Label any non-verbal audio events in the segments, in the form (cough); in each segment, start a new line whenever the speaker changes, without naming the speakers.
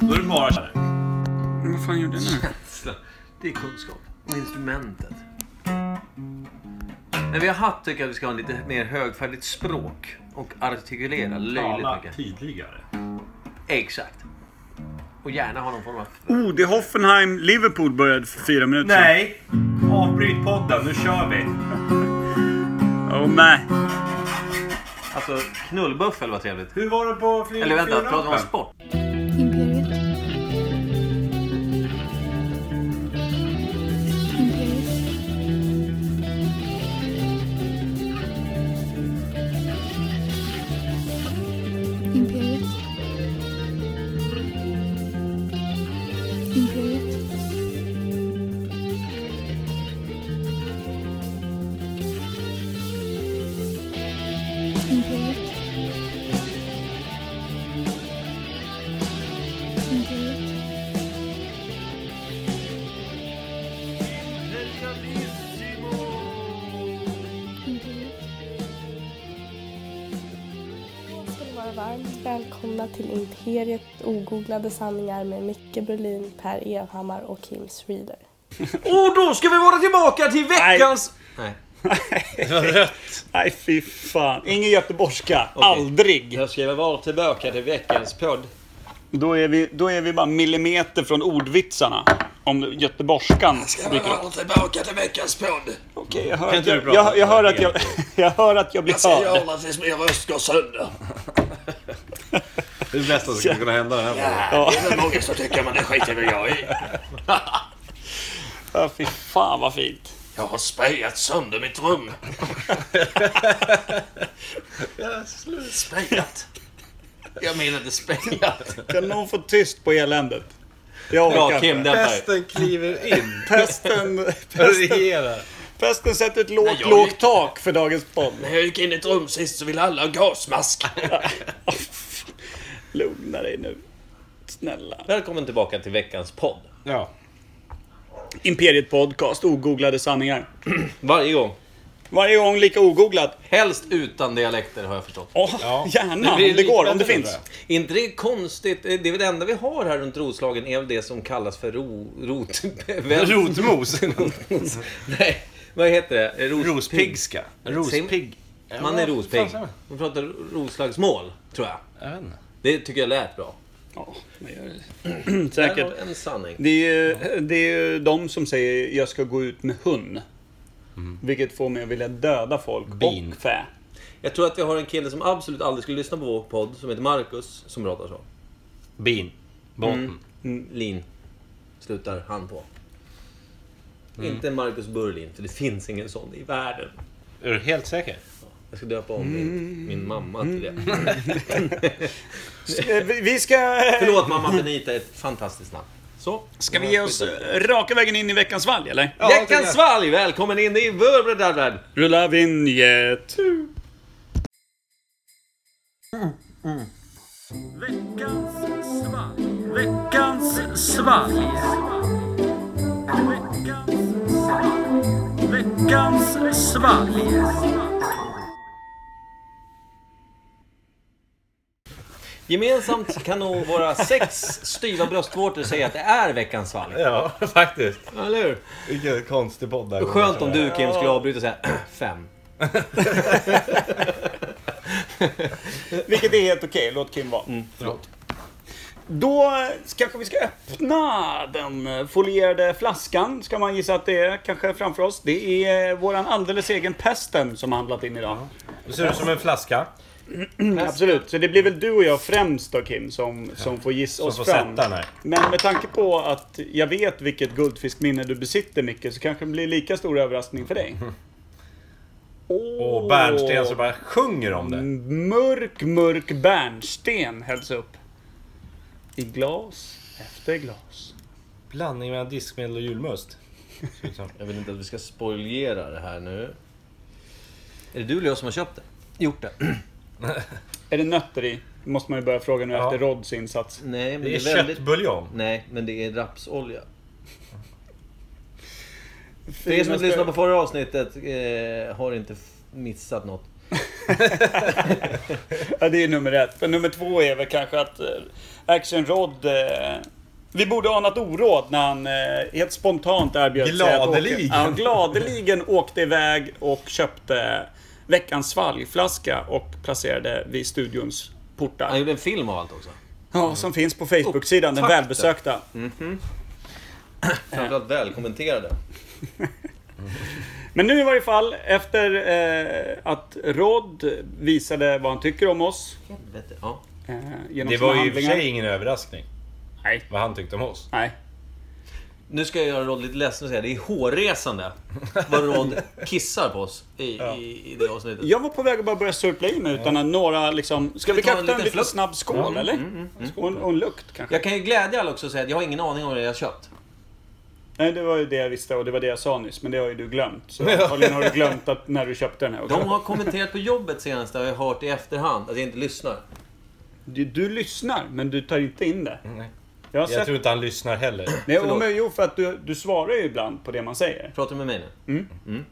Då är det bara så här.
Men vad fan gjorde jag nu?
Känsla. Det är kunskap. Och instrumentet. Men vi har haft tycker jag att vi ska ha lite mer högfärdigt språk. Och artikulera löjligt
Tala
mycket.
tydligare.
Exakt. Och gärna ha någon form av...
(laughs) Oh, det är Hoffenheim. Liverpool började för fyra minuter sedan.
Nej! Avbryt podden, nu kör vi!
Åh, nej.
Alltså knullbuffel var trevligt.
Hur var det på flyg-
Eller vänta,
flygplatsen?
pratar vi om sport?
Imperiet. Imperiet. Imperiet. Imperiet. Imperiet. Imperiet. Imperiet.
Då ska ni vara varmt välkomna till Imperiet ogooglade sanningar med Micke Berlin, Per Evhammar och Kim Reader.
Och då ska vi vara tillbaka till veckans... Nej.
Nej, fy fan. Ingen göteborgska. Aldrig.
Jag ska väl vara tillbaka till veckans podd.
Då är, vi, då är vi bara millimeter från ordvitsarna. Om göteborgskan dyker upp.
tillbaka till veckans podd.
Okej, jag hör att
inte du
jag,
prata
jag, jag, hör att jag, (laughs) jag hör att jag blir hörd.
tills min röst går sönder.
(laughs) Det är det bästa som skulle kunna hända den här podden.
Ja. Det är väl många som tycker men det skiter väl jag i.
Ja, fy fan vad fint.
Jag har sprayat sönder
(laughs)
mitt rum. Sprayat? Jag menar inte sprayat.
Kan någon få tyst på eländet? Jag
Bra
orkar
Kim,
inte.
dämpa dig.
Pesten
(laughs)
kliver in.
Pesten,
Regerar.
pesten sätter ett lågt,
jag-
lågt tak för dagens podd.
När jag gick in i ett rum sist så ville alla
(laughs)
ha gasmask.
Lugna dig nu. Snälla.
Välkommen tillbaka till veckans podd.
Ja.
Imperiet Podcast, ogooglade sanningar.
Varje gång.
Varje gång lika ogooglad.
Helst utan dialekter har jag förstått.
Åh,
Ja.
gärna. Om
blir
det går, om
liknande,
det finns.
tror
inte det är konstigt? Eh, Det är väl det enda vi har här runt Roslagen är väl det som kallas för ro, rot... (laughs)
(laughs) Rotmos.
Nej, vad heter det? Ros-
Rospigska. Rospigg.
Man är rospigg.
Fan, säger man.
Man pratar roslagsmål, tror jag.
Jag vet inte.
Det tycker jag lät bra.
Ja, men gör (clears throat) det.
Där har
Säkert.
vi en sanning.
Det är, ju, det är ju de som säger jag ska gå ut med hund. Vilket får mig att vilja döda folk
Bin.
och fä.
Jag tror att vi har en kille som absolut aldrig skulle lyssna på vår podd, som heter Marcus, som pratar så.
Bin.
Mm.
Botten.
Lin slutar han på.
Mm.
Inte Marcus Burlin, för det finns ingen sån i världen.
Är du helt säker?
Jag ska döpa om min, min mamma till det.
Eh, vi- Vi ska...
Förlåt mamma Benita, är ett fantastiskt namn. Så.
Ska vi ge oss raka vägen in i veckans valg eller?
Veckans svalg! Välkommen in i vår breddad värld.
Rulla vinjet. Veckans svalg. Veckans svalg. Veckans svalg.
Gemensamt kan nog våra sex styva bröstvårtor säga att det är veckans svalg.
Ja, (laughs) faktiskt.
Eller hur?
Vilken konstig podd det här
Skönt om du Kim skulle avbryta och säga (clears throat) fem.
Vilket är helt okej, låt Kim vara.
Mm,
Mm. Då kanske vi ska öppna den folierade flaskan, ska man gissa att det är, kanske framför oss. Det är eh, våran alldeles egen Pesten som har handlat in idag. Mm,
Det ser ut som en flaska.
Absolut, så det blir väl du och jag främst då Kim som, som får gissa oss
får
fram.
sätta den här.
Men med tanke på att jag vet vilket guldfiskminne du besitter Micke, så kanske det blir lika stor överraskning för dig. Åh,
Och Mm. bärnsten så bara sjunger om det.
Mörk, mörk bärnsten hälls upp. I glas efter glas.
Blandning mellan diskmedel och
(laughs)
julmust. Ser ut som.
Jag vill inte att vi ska spoilera det här nu. Är det du eller jag som har köpt det? Gjort det?
Är det nötter i? Det måste man ju börja fråga nu
Ja.
efter Rods insats.
Nej, men
Det
det
är
är väldigt...
köttbuljong.
Nej, men det är rapsolja. För er som inte lyssnade på förra avsnittet eh, har inte f- missat något.
Ja, det är nummer ett. För nummer två är väl kanske att eh, Action Rod... Eh, vi borde ha anat oråd när han eh, helt spontant erbjöd
Gladeligen.
sig att åka. Ja, gladeligen åkte iväg och köpte veckans svalgflaska och placerade vid studions
Han
portar.
gjorde en film av allt också.
Ja, som finns på Facebook-sidan, den
Upptakten.
välbesökta.
Framförallt välkommenterade.
Men nu i varje fall, efter eh, att Rod visade vad han tycker om oss.
Helvete. Ja.
Eh, genom
Det
sina
var ju i och för
handlingar.
sig ingen överraskning
Nej.
vad han tyckte om oss.
Nej.
Nu ska jag göra Rod lite ledsen och säga det är hårresande vad Rod kissar på oss i, i, i det avsnittet.
Jag var på väg att bara börja surpla i mig utan att några liksom... Ska vi
vi ta
kanske
en
ta en
liten
liten
flukt?
snabb skål eller? Och, en, och en lukt kanske?
Jag kan ju glädja alla också och säga att jag har ingen aning om vad jag har köpt.
Nej, det var ju det jag visste och det var det jag sa nyss. Men det har ju du glömt. Så antagligen har du glömt att när du köpte den här också.
De har kommenterat på jobbet senast, har jag hört i efterhand, att jag inte lyssnar.
Du, du lyssnar, men du tar inte in det.
Nej.
Jag har sett...
Jag tror inte han lyssnar heller.
Nej,
förlåt.
och men, jo, för att du, du svarar ju ibland på det man säger.
Pratar du med mig nu?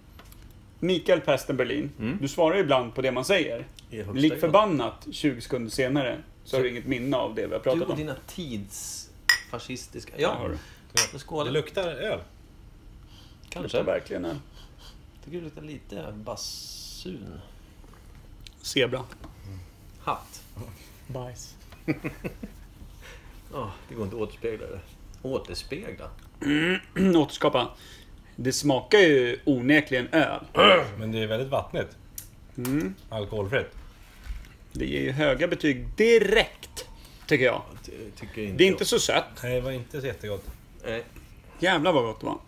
Mikael Pesten Berlin, du svarar ju ibland på det man säger.
I högsta
Lik
grad.
förbannat 20 sekunder senare så har du inget minne av det vi har
Du
pratat
och
om.
dina tidsfascistiska...
Där har
Ja,
du.
då
Det
skål.
luktar öl.
Det är
Kanske.
verkligen en
Tycker det luktar lite basun.
zebra.
Hatt.
Bajs.
Ja, det går inte att återspegla det. Återspegla?
(clears throat) återskapa. Det smakar ju onekligen öl.
Men det är väldigt vattnigt.
Mm.
Alkoholfritt.
Det ger ju höga betyg direkt, tycker jag.
Ty- Tycker inte
Det är
jag.
inte så sött.
Nej, det var inte så jättegott.
Nej.
Jävlar vad gott det var.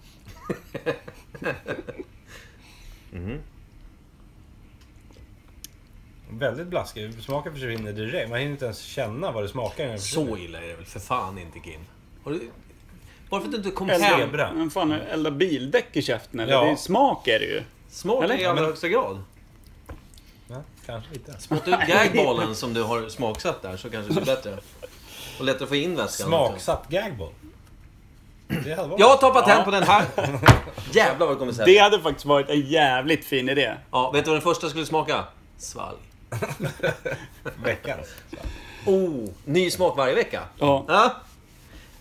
Väldigt blaskig. Smaken försvinner direkt. Man hinner inte ens känna vad det smakar. när det försvinner.
Så illa är det väl för fan inte Kim? Har du... Varför att du inte kom
Elda-
hem?
Zebra.
Men fan, elda bildäck i käften eller?
Ja.
Det är smak är det ju.
Smart
Eller?
i allra högsta grad.
Ja, kanske lite.
Spotta ut gagballen som du har smaksatt där så kanske det blir bättre. Och lättare att få in väskan.
Smaksatt gagball. Det hade varit...
Jag tar patent på den här! Jävlar vad det kommer
Det
säga.
hade faktiskt varit en jävligt fin idé.
Ja, vet du vad den första skulle smaka? Svalg.
Veckans.
Oh, ny smak varje vecka.
Ja.
Ja.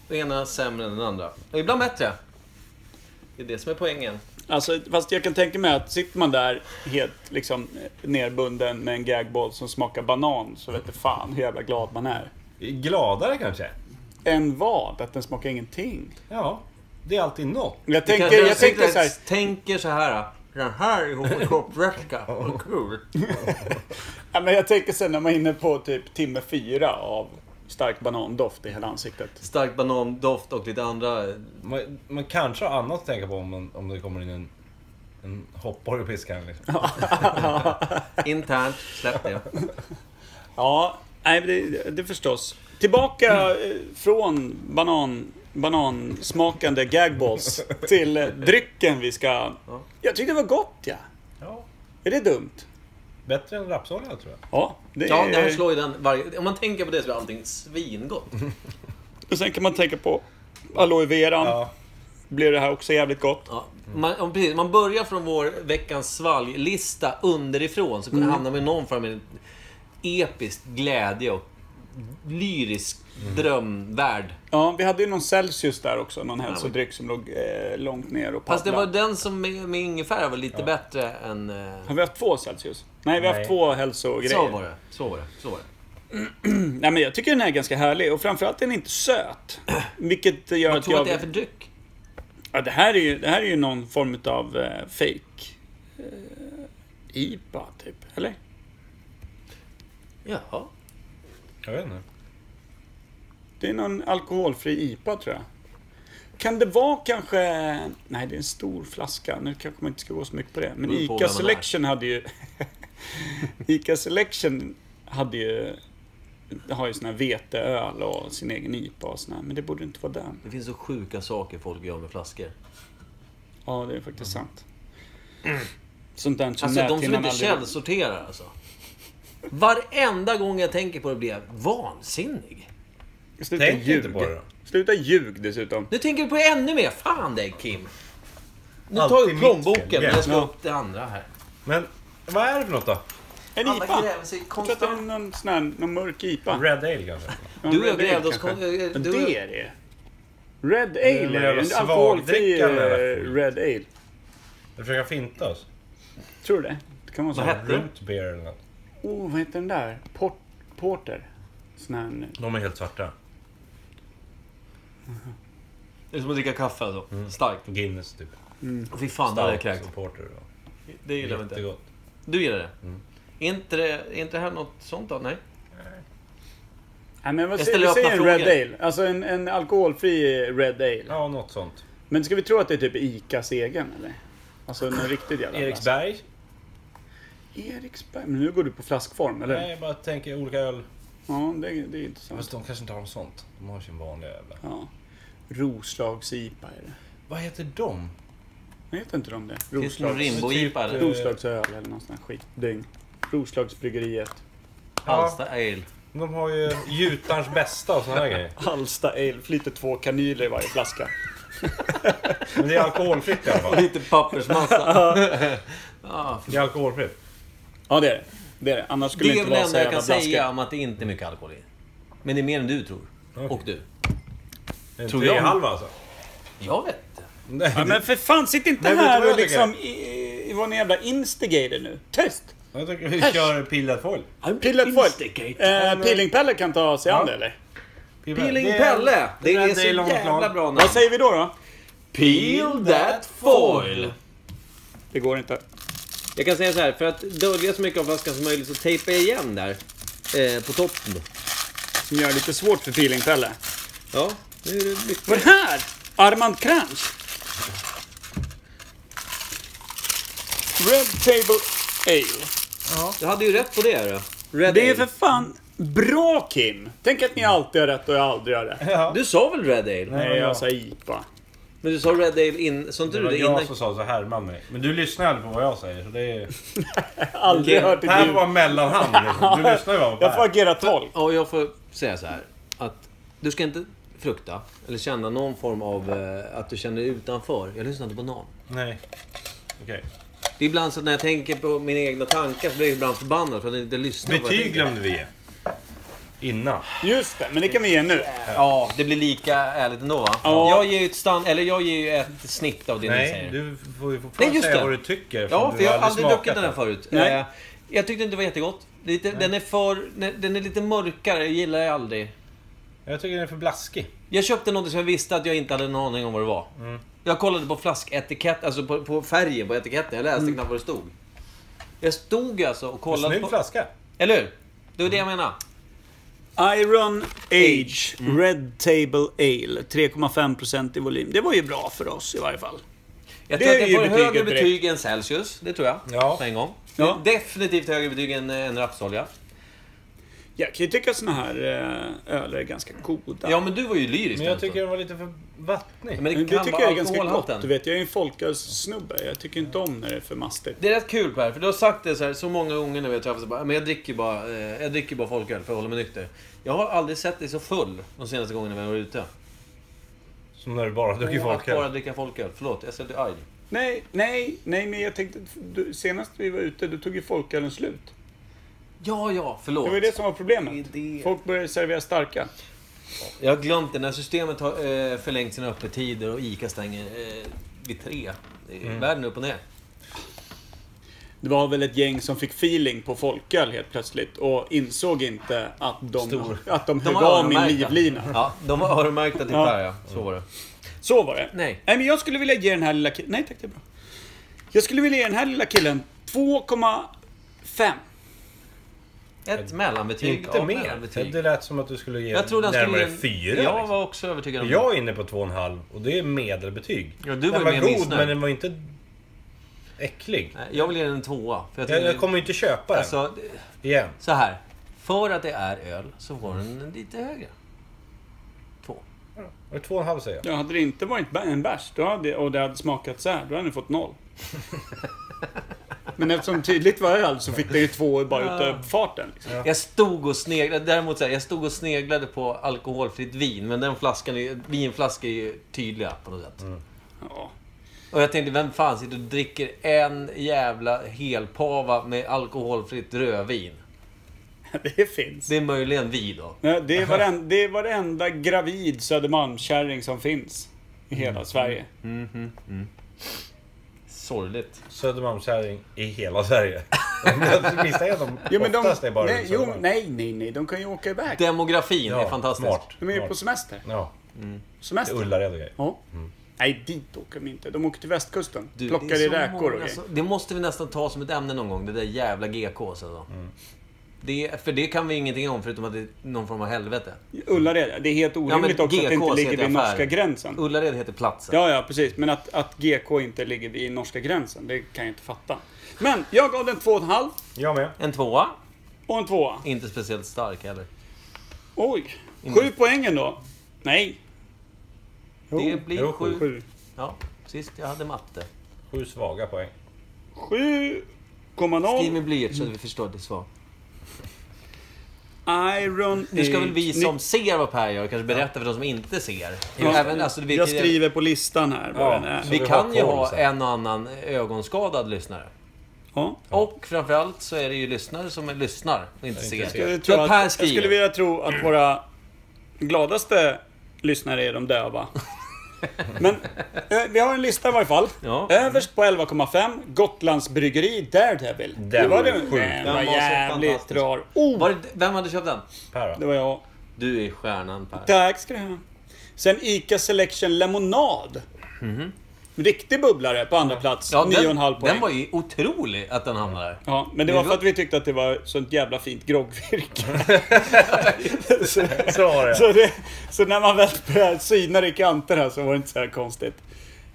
Den ena sämre än den andra. Och ibland bättre. Det är det som är poängen.
Alltså, fast jag kan tänka mig att sitter man där helt liksom nerbunden med en gagboll som smakar banan så vet du fan hur jävla glad man är.
Gladare kanske?
Än vad? Att den smakar ingenting.
Ja. Det är alltid något.
Jag
Det
tänker,
kanske
jag tänker
sitter-
så här.
tänker så här. Den här
(laughs)
är horoskopväska. Vad kul.
Ja, men jag tänker sen när man är inne på typ timme fyra av stark banandoft i hela ansiktet.
Stark banandoft och lite andra... eh,
Man, man kanske har annat att tänka på om, man, om det kommer in en, en hoppborg och piskar en, liksom.
Internt.
(laughs)
Släpp det.
Ja, nej, men det, det förstås. Tillbaka eh, från banan, banansmakande (laughs) gagballs till eh, drycken vi ska... Jag tyckte det var gott, ja.
Ja.
Är det dumt?
Bättre än rapsolja tror jag.
Ja, det
Ja,
är...
det här slår ju den varje... Om man tänker på det så blir allting svingott.
Och sen kan man tänka på aloe veran.
Ja.
Blir det här också jävligt gott?
Ja, man, ja, precis, man börjar från vår veckans svalglista underifrån, så mm. hamnar man i någon form av en episk glädje och lyrisk
Mm.
drömvärld.
Ja, vi hade ju någon Celsius där också. Någon hälsodryck som låg eh, långt ner och
Fast det var
papplade.
den som med, med ingefära var lite bättre än... Eh,
Har vi haft två Celsius? Nej, vi har haft
Nej.
två hälsogrejer. Mm.
så var det. Så var det. Så var det.
Nej, men jag tycker den här är ganska härlig och framförallt är den inte
(clears throat)
söt. Vilket gör
Jag
att
tror
jag...
att det är för dryck.
ja, det, här är ju, det här är ju någon form av eh, fake eh, IPA, typ. Eller?
Jaha.
Jag vet inte.
Det är någon alkoholfri IPA, tror jag. Kan det vara kanske... Nej, det är en stor flaska. Nu kanske man inte ska gå så mycket på det. Men
Beror
ICA
på vem man är.
Selection hade ju... (laughs) ICA Selection hade ju... Har ju sån här veteöl och sin egen IPA och sån här. Men det borde inte vara den.
Det finns så sjuka saker folk gör med flaskor.
Ja, det är faktiskt sant. Sånt där som
Alltså de som
näthinnan
inte
aldrig-
källsorterar alltså. Varenda gång jag tänker på det blir jag vansinnig.
Sluta
Tänk
ljug.
inte på det då.
Sluta ljug dessutom.
Nu tänker du på det ännu mer. Fan dig Kim. Nu
Alltid
tar jag
mitt
plånboken
fel.
men jag ska
Ja.
upp det andra här.
Men vad är det för något då?
En
Alla
IPA.
gräver sig
Jag tror att det är
konstant.
någon sån här, någon mörk IPA.
Red Ale kanske?
Någon
Du och jag
Red Ale
grävde oss...
kanske.
kon- eh,
Men
du och jag-
det är det. Red
är
Ale
någon
är det.
jävla
En alkoholfri eh,
svagdrickan eller skit.
Red Ale.
Du försöker finta oss?
Tror du det? Det kan vara så.
Vad hette-
Root beer eller något.
Oh, vad heter den där? Port, porter? Sån här...
De är helt svarta.
Det är som att dricka kaffe alltså.
Mm.
Starkt.
Guinness typ.
Fy fan, det hade jag kräkt.
supporter. då.
Det gillar vi inte.
Jättegott.
Du gillar det?
Mm.
Är inte det, är inte det här något sånt då? Nej?
Nej, men vad
Jag
säger
ställer
vi
öppna
säger en Red
frågor.
Ale? Alltså en, en alkoholfri Red Ale.
Ja, något sånt.
Men ska vi tro att det är typ ICAs egen eller? Alltså en riktig jävla...
alltså.
Eriksberg?
Eriksberg. Men nu går du på flaskform eller?
Nej, jag bara tänker olika öl.
Ja, det, det är intressant.
Fast de kanske inte har något sånt. De har sin vanliga jävla...
Ja. Roslags-IPA är det.
Vad heter de?
Jag vet inte om det.
Finns det någon
Roslags-
Rimbo-IPA?
typ,
eller?
eh,
Roslagsöl eller någon sån här skitdäng. Roslagsbryggeriet.
Halsta Ale.
De har ju Jutarns bästa och såna här grejer.
Halsta Ale. Flyter två kanyler i varje flaska.
Men det är alkoholfritt i alla fall.
Lite pappersmassa.
Det är alkoholfritt.
Ja, det är det. Det är det. Annars skulle
Det
det,
är
inte
väl
vara
det
så
enda jag
jävla
kan säga
blaskigt.
om att det inte är mycket alkohol i. Men det är mer än du tror. Och du.
En
Tror jag.
trehalva alltså.
Jag vet inte.
Nej,
Ja, men för fan, sitt inte
Nej, vet du
här
vad
och
jag tycker?
liksom i- i- vara en jävla instigator nu. Tyst!
jag tycker vi kör pillad foil.
Pillet folk. Eh, Peeling-Pelle kan ta sig an det eller?
Peeling Pelle! Det är så jävla bra namn.
Vad säger vi då då?
Peel that foil!
Det går inte.
Jag kan säga så här, för att dölja så mycket av flaskan som möjligt så tejpar jag igen där. Eh, på toppen.
Som gör det lite svårt för Peeling-Pelle.
Ja, nu är det mycket.
Vad är det här? Armand Kranz? Red Table Ale.
Jag hade ju rätt på det. Då. Red
Det är för
ale.
fan bra Kim! Tänk att ni alltid har rätt och jag aldrig har rätt.
Du sa väl Red Ale?
Nej, jag sa IPA.
Men du sa Red Ale in... Som
Det
du
var
det
jag
innan?
som sa så här med mig. Men du lyssnar aldrig på vad jag säger. Så det,
(laughs)
är...
Aldrig hört
det
det
här
ljud.
var mellanhand. liksom. Du lyssnar ju bara på
Jag får
Per.
agera tolk.
Ja, jag får säga så här. Att du ska inte frukta eller känna någon form av eh, att du känner dig utanför. Jag lyssnar inte på någon.
Nej. Okej.
Det är ibland så att när jag tänker på mina egna tankar så blir jag ibland förbannad för att jag inte lyssnar på vad jag
Betyg
tänker.
glömde vi ge. Innan.
Just det, men det kan vi ge nu.
Ja, det blir lika ärligt ändå va?
Ja.
Jag ger ju ett stan... Eller jag ger ju ett snitt av det ni
Nej,
säger.
du får ju
Nej,
fortfarande
just
säga
det.
vad du tycker.
Ja,
du
för jag har aldrig druckit
smakat
den här förut.
Nej.
Eh, Jag tyckte inte det var jättegott. Lite, den är för... ne- Den är lite mörkare, jag gillar jag aldrig.
Jag tycker den är för blaskig.
Jag köpte något som jag visste att jag inte hade någon aning om vad det var. Jag kollade på flasketikett, alltså på, på färgen på etiketten. Jag
Mm.
läste knappt vad det stod. Jag stod alltså och kollade
Snygg
på...
flaska.
Eller hur? Det var det jag menade.
Iron Age Red Table Ale. 3,5% i volym. Det var ju bra för oss i varje fall.
Jag
Det
tror
är
att den
ju
får
betyget
högre
direkt.
betyg än Celsius. Det tror jag.
Ja.
På en gång.
Ja.
Definitivt högre betyg än, eh, än rapsolja.
Jag kan ju tycka såna här eh, öler är ganska goda.
Ja, men du var ju lyrisk.
Men jag
alltså.
tycker den var lite för vattnig.
men det,
Men
kan
det tycker
vara
jag är ganska
alkoholhalten.
gott. Du vet, jag är ju en folkölssnubbe. Jag tycker inte om när det är för mastigt.
Det är rätt kul Per, för du har sagt det så, här, så många gånger när vi har träffats. bara, Men jag dricker ju bara, eh, jag dricker bara folköl för att hålla mig nykter. Jag har aldrig sett dig så full de senaste gångerna vi har varit ute.
Som när du bara dricker
Och att bara
folköl.
dricka folköl. Förlåt, jag ser att du är arg.
Nej, nej, nej, men jag tänkte... Du, senast vi var ute, då tog ju folkölen slut.
Ja, ja, förlåt.
Det var ju det som var problemet.
Det är det.
Folk började servera starka.
Jag har glömt det. När systemet har eh, förlängt sina öppettider och ICA stänger eh, vid tre. Det är
Mm.
Världen upp och ner.
Det var väl ett gäng som fick feeling på folköl helt plötsligt och insåg inte att de,
Stor.
att de högg
var
av min
öronmärkta.
livlina.
Ja, de var öronmärkta till
Ja.
Per, ja. Så var det.
Så var det.
Nej.
men jag skulle vilja ge den här lilla killen... Nej tack, det är bra. Jag skulle vilja ge den här lilla killen 2,5.
Ett mellanbetyg
Inte
av
mer.
mellanbetyg.
Det lät som att du skulle ge
Jag trodde han skulle
närmare
ge en-
fyra.
Jag
liksom.
var också övertygad
Mm.
om det.
Jag är inne på två och en halv och det är medelbetyg.
Ja, du
den
var ju
var
mer
god
missnöjd.
men den var inte äcklig.
Nej, Jag vill ge den en tvåa. För jag,
Jag,
tycker-
jag kommer ju inte köpa den
alltså, det-
igen.
Så här. För att det är öl så får den en lite högre. Två.
Var det två och en halv säger jag?
Ja, hade det inte varit bä- en bärs då hade, och det hade smakat så här, då hade ni fått noll. Men eftersom tydligt var öl så fick det ju två bara utav farten. Liksom.
Jag stod och sneglade. Däremot så här, jag stod och sneglade på
Mm.
alkoholfritt vin. Men den flaskan är, ju- vinflaskor är ju tydliga på något sätt.
Ja. (laughs)
Och jag tänkte, vem fan sitter och dricker en jävla helpava med alkoholfritt rödvin?
Det finns.
Det är möjligen vi då.
Ja, Det är, varenda, det är varenda gravid Södermalmskärring som finns i hela Sverige.
Sorgligt.
Södermalmskärring i hela
(laughs)
Sverige. Jag misstänker att de
Jo, men de,
oftast är bara
nej,
runt
jo,
Södermalm.
nej, nej, nej. De kan ju åka iväg.
Demografin är fantastisk.
Smart.
De är ju på
smart.
semester.
Ja, till
Semester.
Ullared och grejer.
Ja. Nej, dit åker de inte. De åker till västkusten.
Du, det är
plockar
så
i räkor och
många
grejer.
som- Det måste vi nästan ta som ett ämne någon gång, det där jävla GKs alltså.
Mm.
Det, för det kan vi ingenting om förutom att det är någon form av helvete.
Mm. Ullared, det är helt orimligt också att det inte
GKs
ligger vid
heter
norska
affären.
gränsen.
Ullared heter platsen.
Ja, ja, precis. Men att, att GK inte ligger vid norska gränsen, det kan jag inte fatta. Men jag gav den två och en halv
Jag med.
En tvåa.
och en tvåa.
Inte speciellt stark heller.
Oj! Sju poäng ändå. Nej.
det blir
jo,
sju.
Sju.
Ja, sist jag hade matte.
Sju svaga poäng.
7,0.
Skriv med blyert så att
Mm.
vi förstår att det är svagt.
Iron
Nu ska väl vi
Age.
som ser vad Per gör kanske berätta för de som inte ser.
Ja.
Även, alltså, vi,
Jag skriver på listan här vad
Ja,
den är.
så
vi
vi
kan
har
ju
koll
ha
sen.
en och annan ögonskadad lyssnare.
Ja.
Och framförallt så är det ju lyssnare som lyssnar och inte ser.
ser.
Jag,
Så
tror att,
Per
jag
skriver.
skulle vilja tro att våra gladaste lyssnare är de
(laughs)
döva. Men eh, vi har en lista i varje fall.
Ja.
Överst på 11,5 Gotlands Bryggeri Daredevil. det
Den
var,
var
det,
sjuk.
den
Den
var
var så
jävligt
fantastisk.
rar. Oh,
Var det, vem hade köpt den?
Per
det
då?
var jag.
Du är stjärnan Per.
Tack ska du ha. Sen ICA Selection Lemonad. Riktig bubblare på andra plats.
Mhm. Ja,
9,5
den,
poäng.
den var ju otrolig att den hamnade där.
Ja, men det
Men
var
det
för
var-
att vi tyckte att det var sånt jävla fint groggvirke.
Så var det.
(laughs) Så, det, så när man väl började syna det i kanterna så var det inte så här konstigt.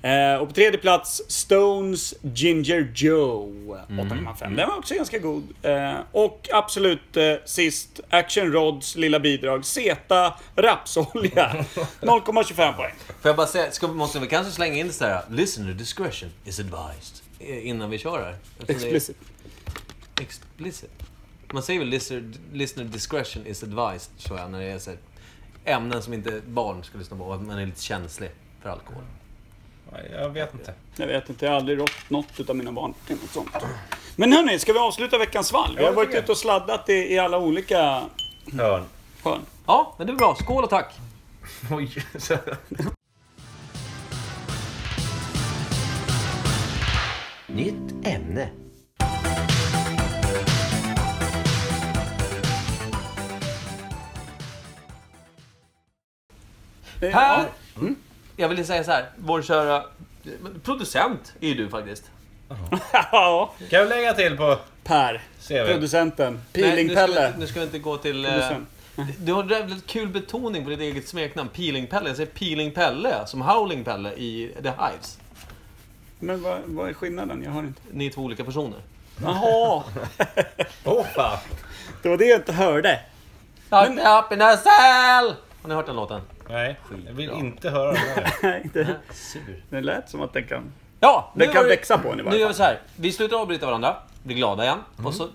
Eh, och på tredje plats Stones Ginger Joe
Mm.
8,5. Den var också ganska god. Eh, och absolut eh, sist Action Rods lilla bidrag Zeta
(laughs)
Rapsolja 0,25 poäng.
Får jag bara säga, ska, måste vi kanske slänga in så här. Listener discretion is advised. eh, Innan vi kör här. Eftersom det är-
Explicit.
Explicit. Man säger väl listener, listener discretion is advised, tror jag, när det är så här, ämnen som inte barn ska lyssna på. och Att man är lite känslig för alkohol.
Nej, Jag vet inte.
Jag vet inte, jag har aldrig rått något utav mina barn till något sånt. Men hörni, ska vi avsluta veckans svalg? Vi har
det
varit
tycker jag.
ute och sladdat i, i alla olika
Hörn.
hörn.
Ja, men det är bra. Skål och tack!
Oj.
Nytt ämne.
Ja.
Per!
Mm.
Jag ville säga så här. Vår kära men producent är ju du faktiskt.
Ja, (laughs)
Kan jag lägga till på
Per.
CV?
Producenten.
Nej, nu ska vi-
Peeling-Pelle.
Nu ska vi inte gå till... eh,
(laughs) Producent.
Du har en jävligt kul betoning på ditt eget smeknamn, Peeling-Pelle. Jag säger Peeling-Pelle som Howling-Pelle i The Hives.
Men vad, vad är skillnaden? Jag hör inte.
Ni är två olika personer.
Jaha!
Åh fan!
Det var det jag inte hörde. (laughs)
Start up in a cell! Har ni hört den låten?
Nej, jag vill inte höra det
(laughs)
här.
Nej, det,
Ah, Sur.
det lät som att den kan... (laughs)
Ja, nu
Den kan
var det-
växa på en i
Nu
varje fall. Mm.
gör vi så här. Vi slutar avbryta varandra, blir glada igen. Och så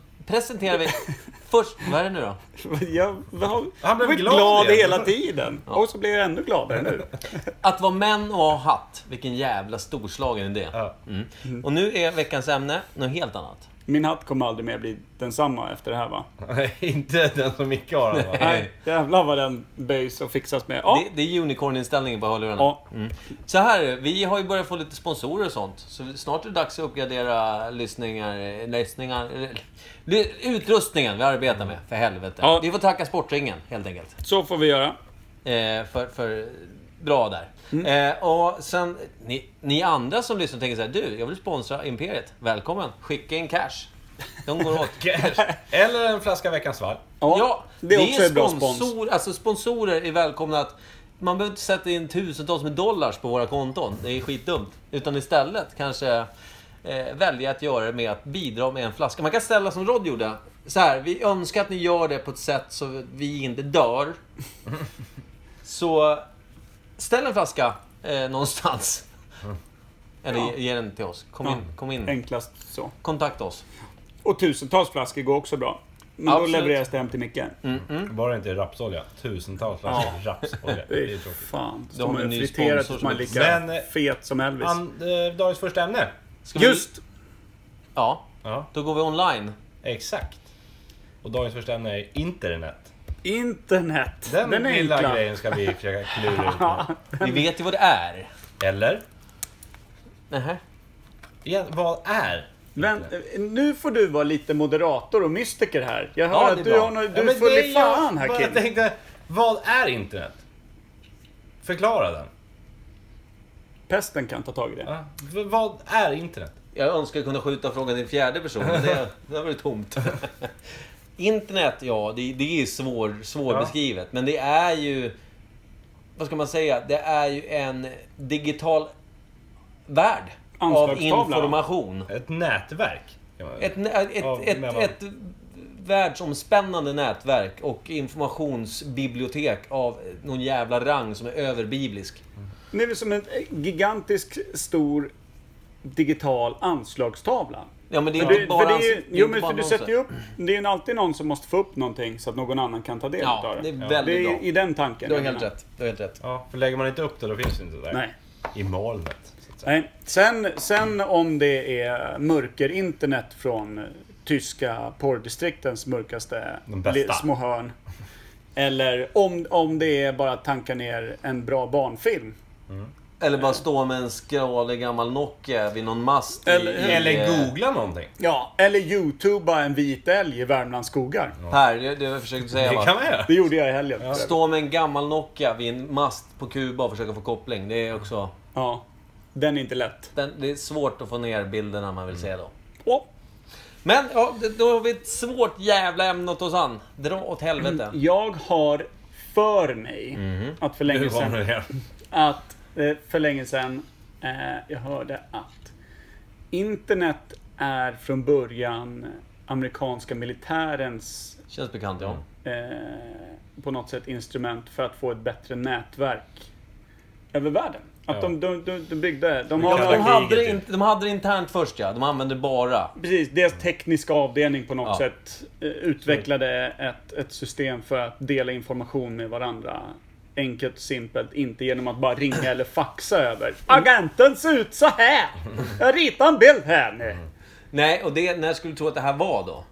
(laughs)
presenterar vi först... Vad är det nu då?
Jag var,
Han blev
var
glad igen.
hela tiden. Och så blir jag ännu gladare
(laughs)
nu.
Att vara män och ha hatt. Vilken jävla storslagen idé.
Ja.
Mm. Och nu är veckans ämne något helt annat.
Min hatt kommer aldrig mer bli densamma efter det här va?
Nej, inte den som Micke har. han var.
Nej, jävlar vad den böjs och fixas med. Ja,
Det, det är unicorn-inställningen på hörlurarna.
Ja.
Mm. Så här är det, vi har ju börjat få lite sponsorer och sånt. Så vi- snart är det dags att uppgradera lyssningar, eh, lyssningar, eller- ly- utrustningen vi arbetar med. För helvete.
Ja.
Vi får tacka Sportringen helt enkelt.
så får vi göra.
Eh, för, för bra där.
Mm.
Eh, och sen, ni, ni andra som lyssnar tänker så här, du, jag vill sponsra Imperiet. Välkommen, skicka in cash. De går åt.
Eller en flaska Veckans Vall.
Ja,
det är också en bra
sponsor,
spons.
Alltså sponsorer är välkomna att... Man behöver inte sätta in tusentals med dollars på våra konton. Det är skitdumt. Utan istället kanske eh, välja att göra det med att bidra med en flaska. Man kan ställa som Rod gjorde. Så här, vi önskar att ni gör det på ett sätt så vi
(laughs)
inte dör. Så ställ en flaska
(laughs)
eh, någonstans. Eller ge, ge den till oss. Kom in. Kom in.
Enklast så.
Kontakta oss.
Och tusentals flaskor går också bra. Men då
Absolut.
levereras det hem till Micke.
Bara inte rapsolja. Tusentals flaskor rapsolja. Det är tråkigt.
Fan,
De
de
har
har
en ny
friterat
sponsor
tills
som
man är lika
heter-
Men, eh,
fet som Elvis.
An, eh, dagens första ämne.
Ska vi-
Just!
Ja,
Ja,
då går vi online.
exakt. Och dagens första ämne är internet.
Internet.
Den,
Den, är
lilla
enkla.
grejen ska vi försöka klura ut nu.
(laughs)
Vi vet ju vad det är.
Eller?
Nähä.
Igen, vad är?
Men eh, nu får du vara lite moderator och mystiker här. Jag
Ja,
hör
det
att
är
du,
bra.
har nå- du
Ja,
är
men
full
det
i fan här
jag
killen.
bara tänkte, vad är internet? Förklara den.
Pesten kan ta tag i det.
Ja, v- vad är internet?
Jag önskar jag kunde skjuta frågan i en fjärde person,
(laughs)
men det, det var ju tomt. (laughs) Internet, ja, det, det är svår, svårbeskrivet. Men det är ju... Vad ska man säga? Det är ju en digital värld av
Anslagstavla.
information.
Ett nätverk. kan man-
Ett, nä- ett,
Ja,
ett,
men
ett,
vad-
världsomspännande nätverk och informationsbibliotek av någon jävla rang som är överbiblisk.
Det är väl som en eh, gigantisk stor digital anslagstavla.
Ja, men det är
För det,
inte bara...
för det är, ju-
ans- det är
jo,
inte
men
bara
för du
annonser.
sätter ju upp... Det är ju alltid någon som måste få upp någonting så att någon annan kan ta del
Ja,
av det.
det är väldigt
det är
bra.
i den tanken.
Du har
jag
helt
menar.
rätt. Du har helt rätt.
Ja, för lägger man inte upp det då finns det inte där.
Nej.
I molnet. så att säga.
Nej. Sen, sen om det är mörker-internet från eh, tyska porrdistriktens mörkaste
De bästa.
li- små hörn. Eller om, om det är bara att tanka ner en bra barnfilm.
Eller
Eh.
bara stå med en skralig gammal Nokia vid någon mast. i-
Eller-
i,
Eller
eh,
googla någonting.
Ja, eller youtuba en vit älg i Värmlands skogar.
Här, det, det jag försökte säga
Det kan
var.
man göra.
Det gjorde jag i helgen.
Stå med en gammal Nokia vid en mast på Kuba och försöka få koppling. Det är också...
Ja, den är inte lätt.
Den, det är svårt att få ner bilderna man vill
Mm.
se då.
Åh,
Men ja, det- då har vi ett svårt jävla ämne att ta oss an. Dra åt helvete.
Mm,
jag har för mig att för länge
Hur var Mhm. det
sedan,
här?
att, eh, för länge sedan eh, jag hörde att internet är från början amerikanska militärens
Känns bekant
Mm.
ja.
eh, på något sätt instrument för att få ett bättre nätverk över världen. Att
Ja.
de, de, de, de byggde... De har
kallar
De
Jävla
hade, det
kriget,
in, de hade det internt först ja. De använde bara.
Precis, deras tekniska avdelning på något
Ja.
sätt eh, utvecklade ett, ett system för att dela information med varandra. Enkelt och simpelt, inte genom att bara ringa eller faxa
Mm.
över. Agenten ser ut så här! Jag ritar en bild här nu.
Mm. Nej, och det, när skulle du tro att det här var då?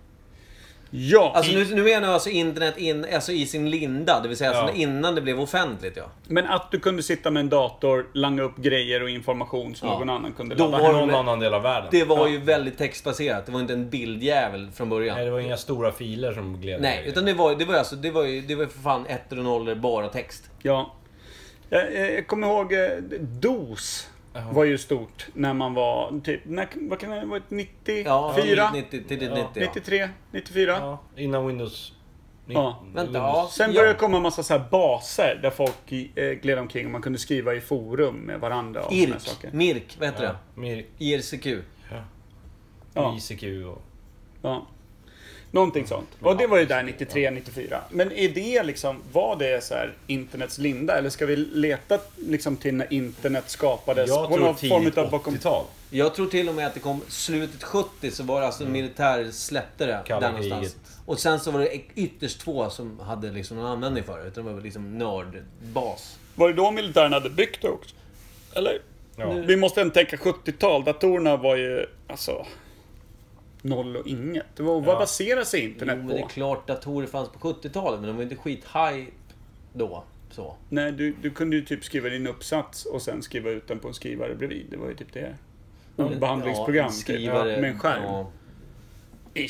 Ja,
Alltså nu, nu menar jag alltså internet in, alltså i sin linda, det vill säga alltså innan det blev offentligt ja.
men att du kunde sitta med en dator, langa upp grejer och information som någon annan kunde
Då
ladda.
var
Någon
det-
annan del av världen.
Det var ju väldigt textbaserat, det var inte en bildjävel från början.
Nej,
Nej,
det var inga stora filer som gled iväg.
utan det var ju, det var ju alltså, det var ju, det var ju för fan ettor och nollor, bara text.
Ja. Jag, eh, jag kommer ihåg eh, DOS. Var ju stort när man var typ, när, vad kan det vara, 94?
Ja, 90, till 90 ja.
93? 94?
Ja, innan Windows...
Ja.
Vänta, ja.
Sen började det komma en massa så här baser där folk eh, gled omkring och man kunde skriva i forum med varandra och såna här
IRK,
saker.
MIRK, vad heter
Ja,
det?
Mir-
IRCQ.
Ja.
ICQ och...
Ja. Någonting sånt. Och det var ju där 93, 94. Men är det liksom, var det så här internets linda? Eller ska vi leta liksom till när internet skapades?
Jag
på
tror
någon form
tidigt
utav bakom...
80-tal.
Jag tror till och med att det kom slutet 70 så var det alltså en militär släppte det
Kalla
där någonstans.
kriget.
Och sen så var det ytterst få som hade liksom någon användning för det. Utan det var väl liksom nördbas.
Var det då militären hade byggt det också? Eller?
Ja.
Vi måste ändå tänka 70-tal. Datorerna var ju, alltså... Noll och inget. Det var, Vad baserar sig
Jo,
internet
men
på?
det är klart datorer fanns på 70-talet men de var inte skithype då. Så.
Nej, du, du kunde ju typ skriva din uppsats och sen skriva ut den på en skrivare bredvid. Det var ju typ det. Någon behandlingsprogram
Mm. Ja,
typ.
skrivare,
Ja, med en skärm. Ja.
ja.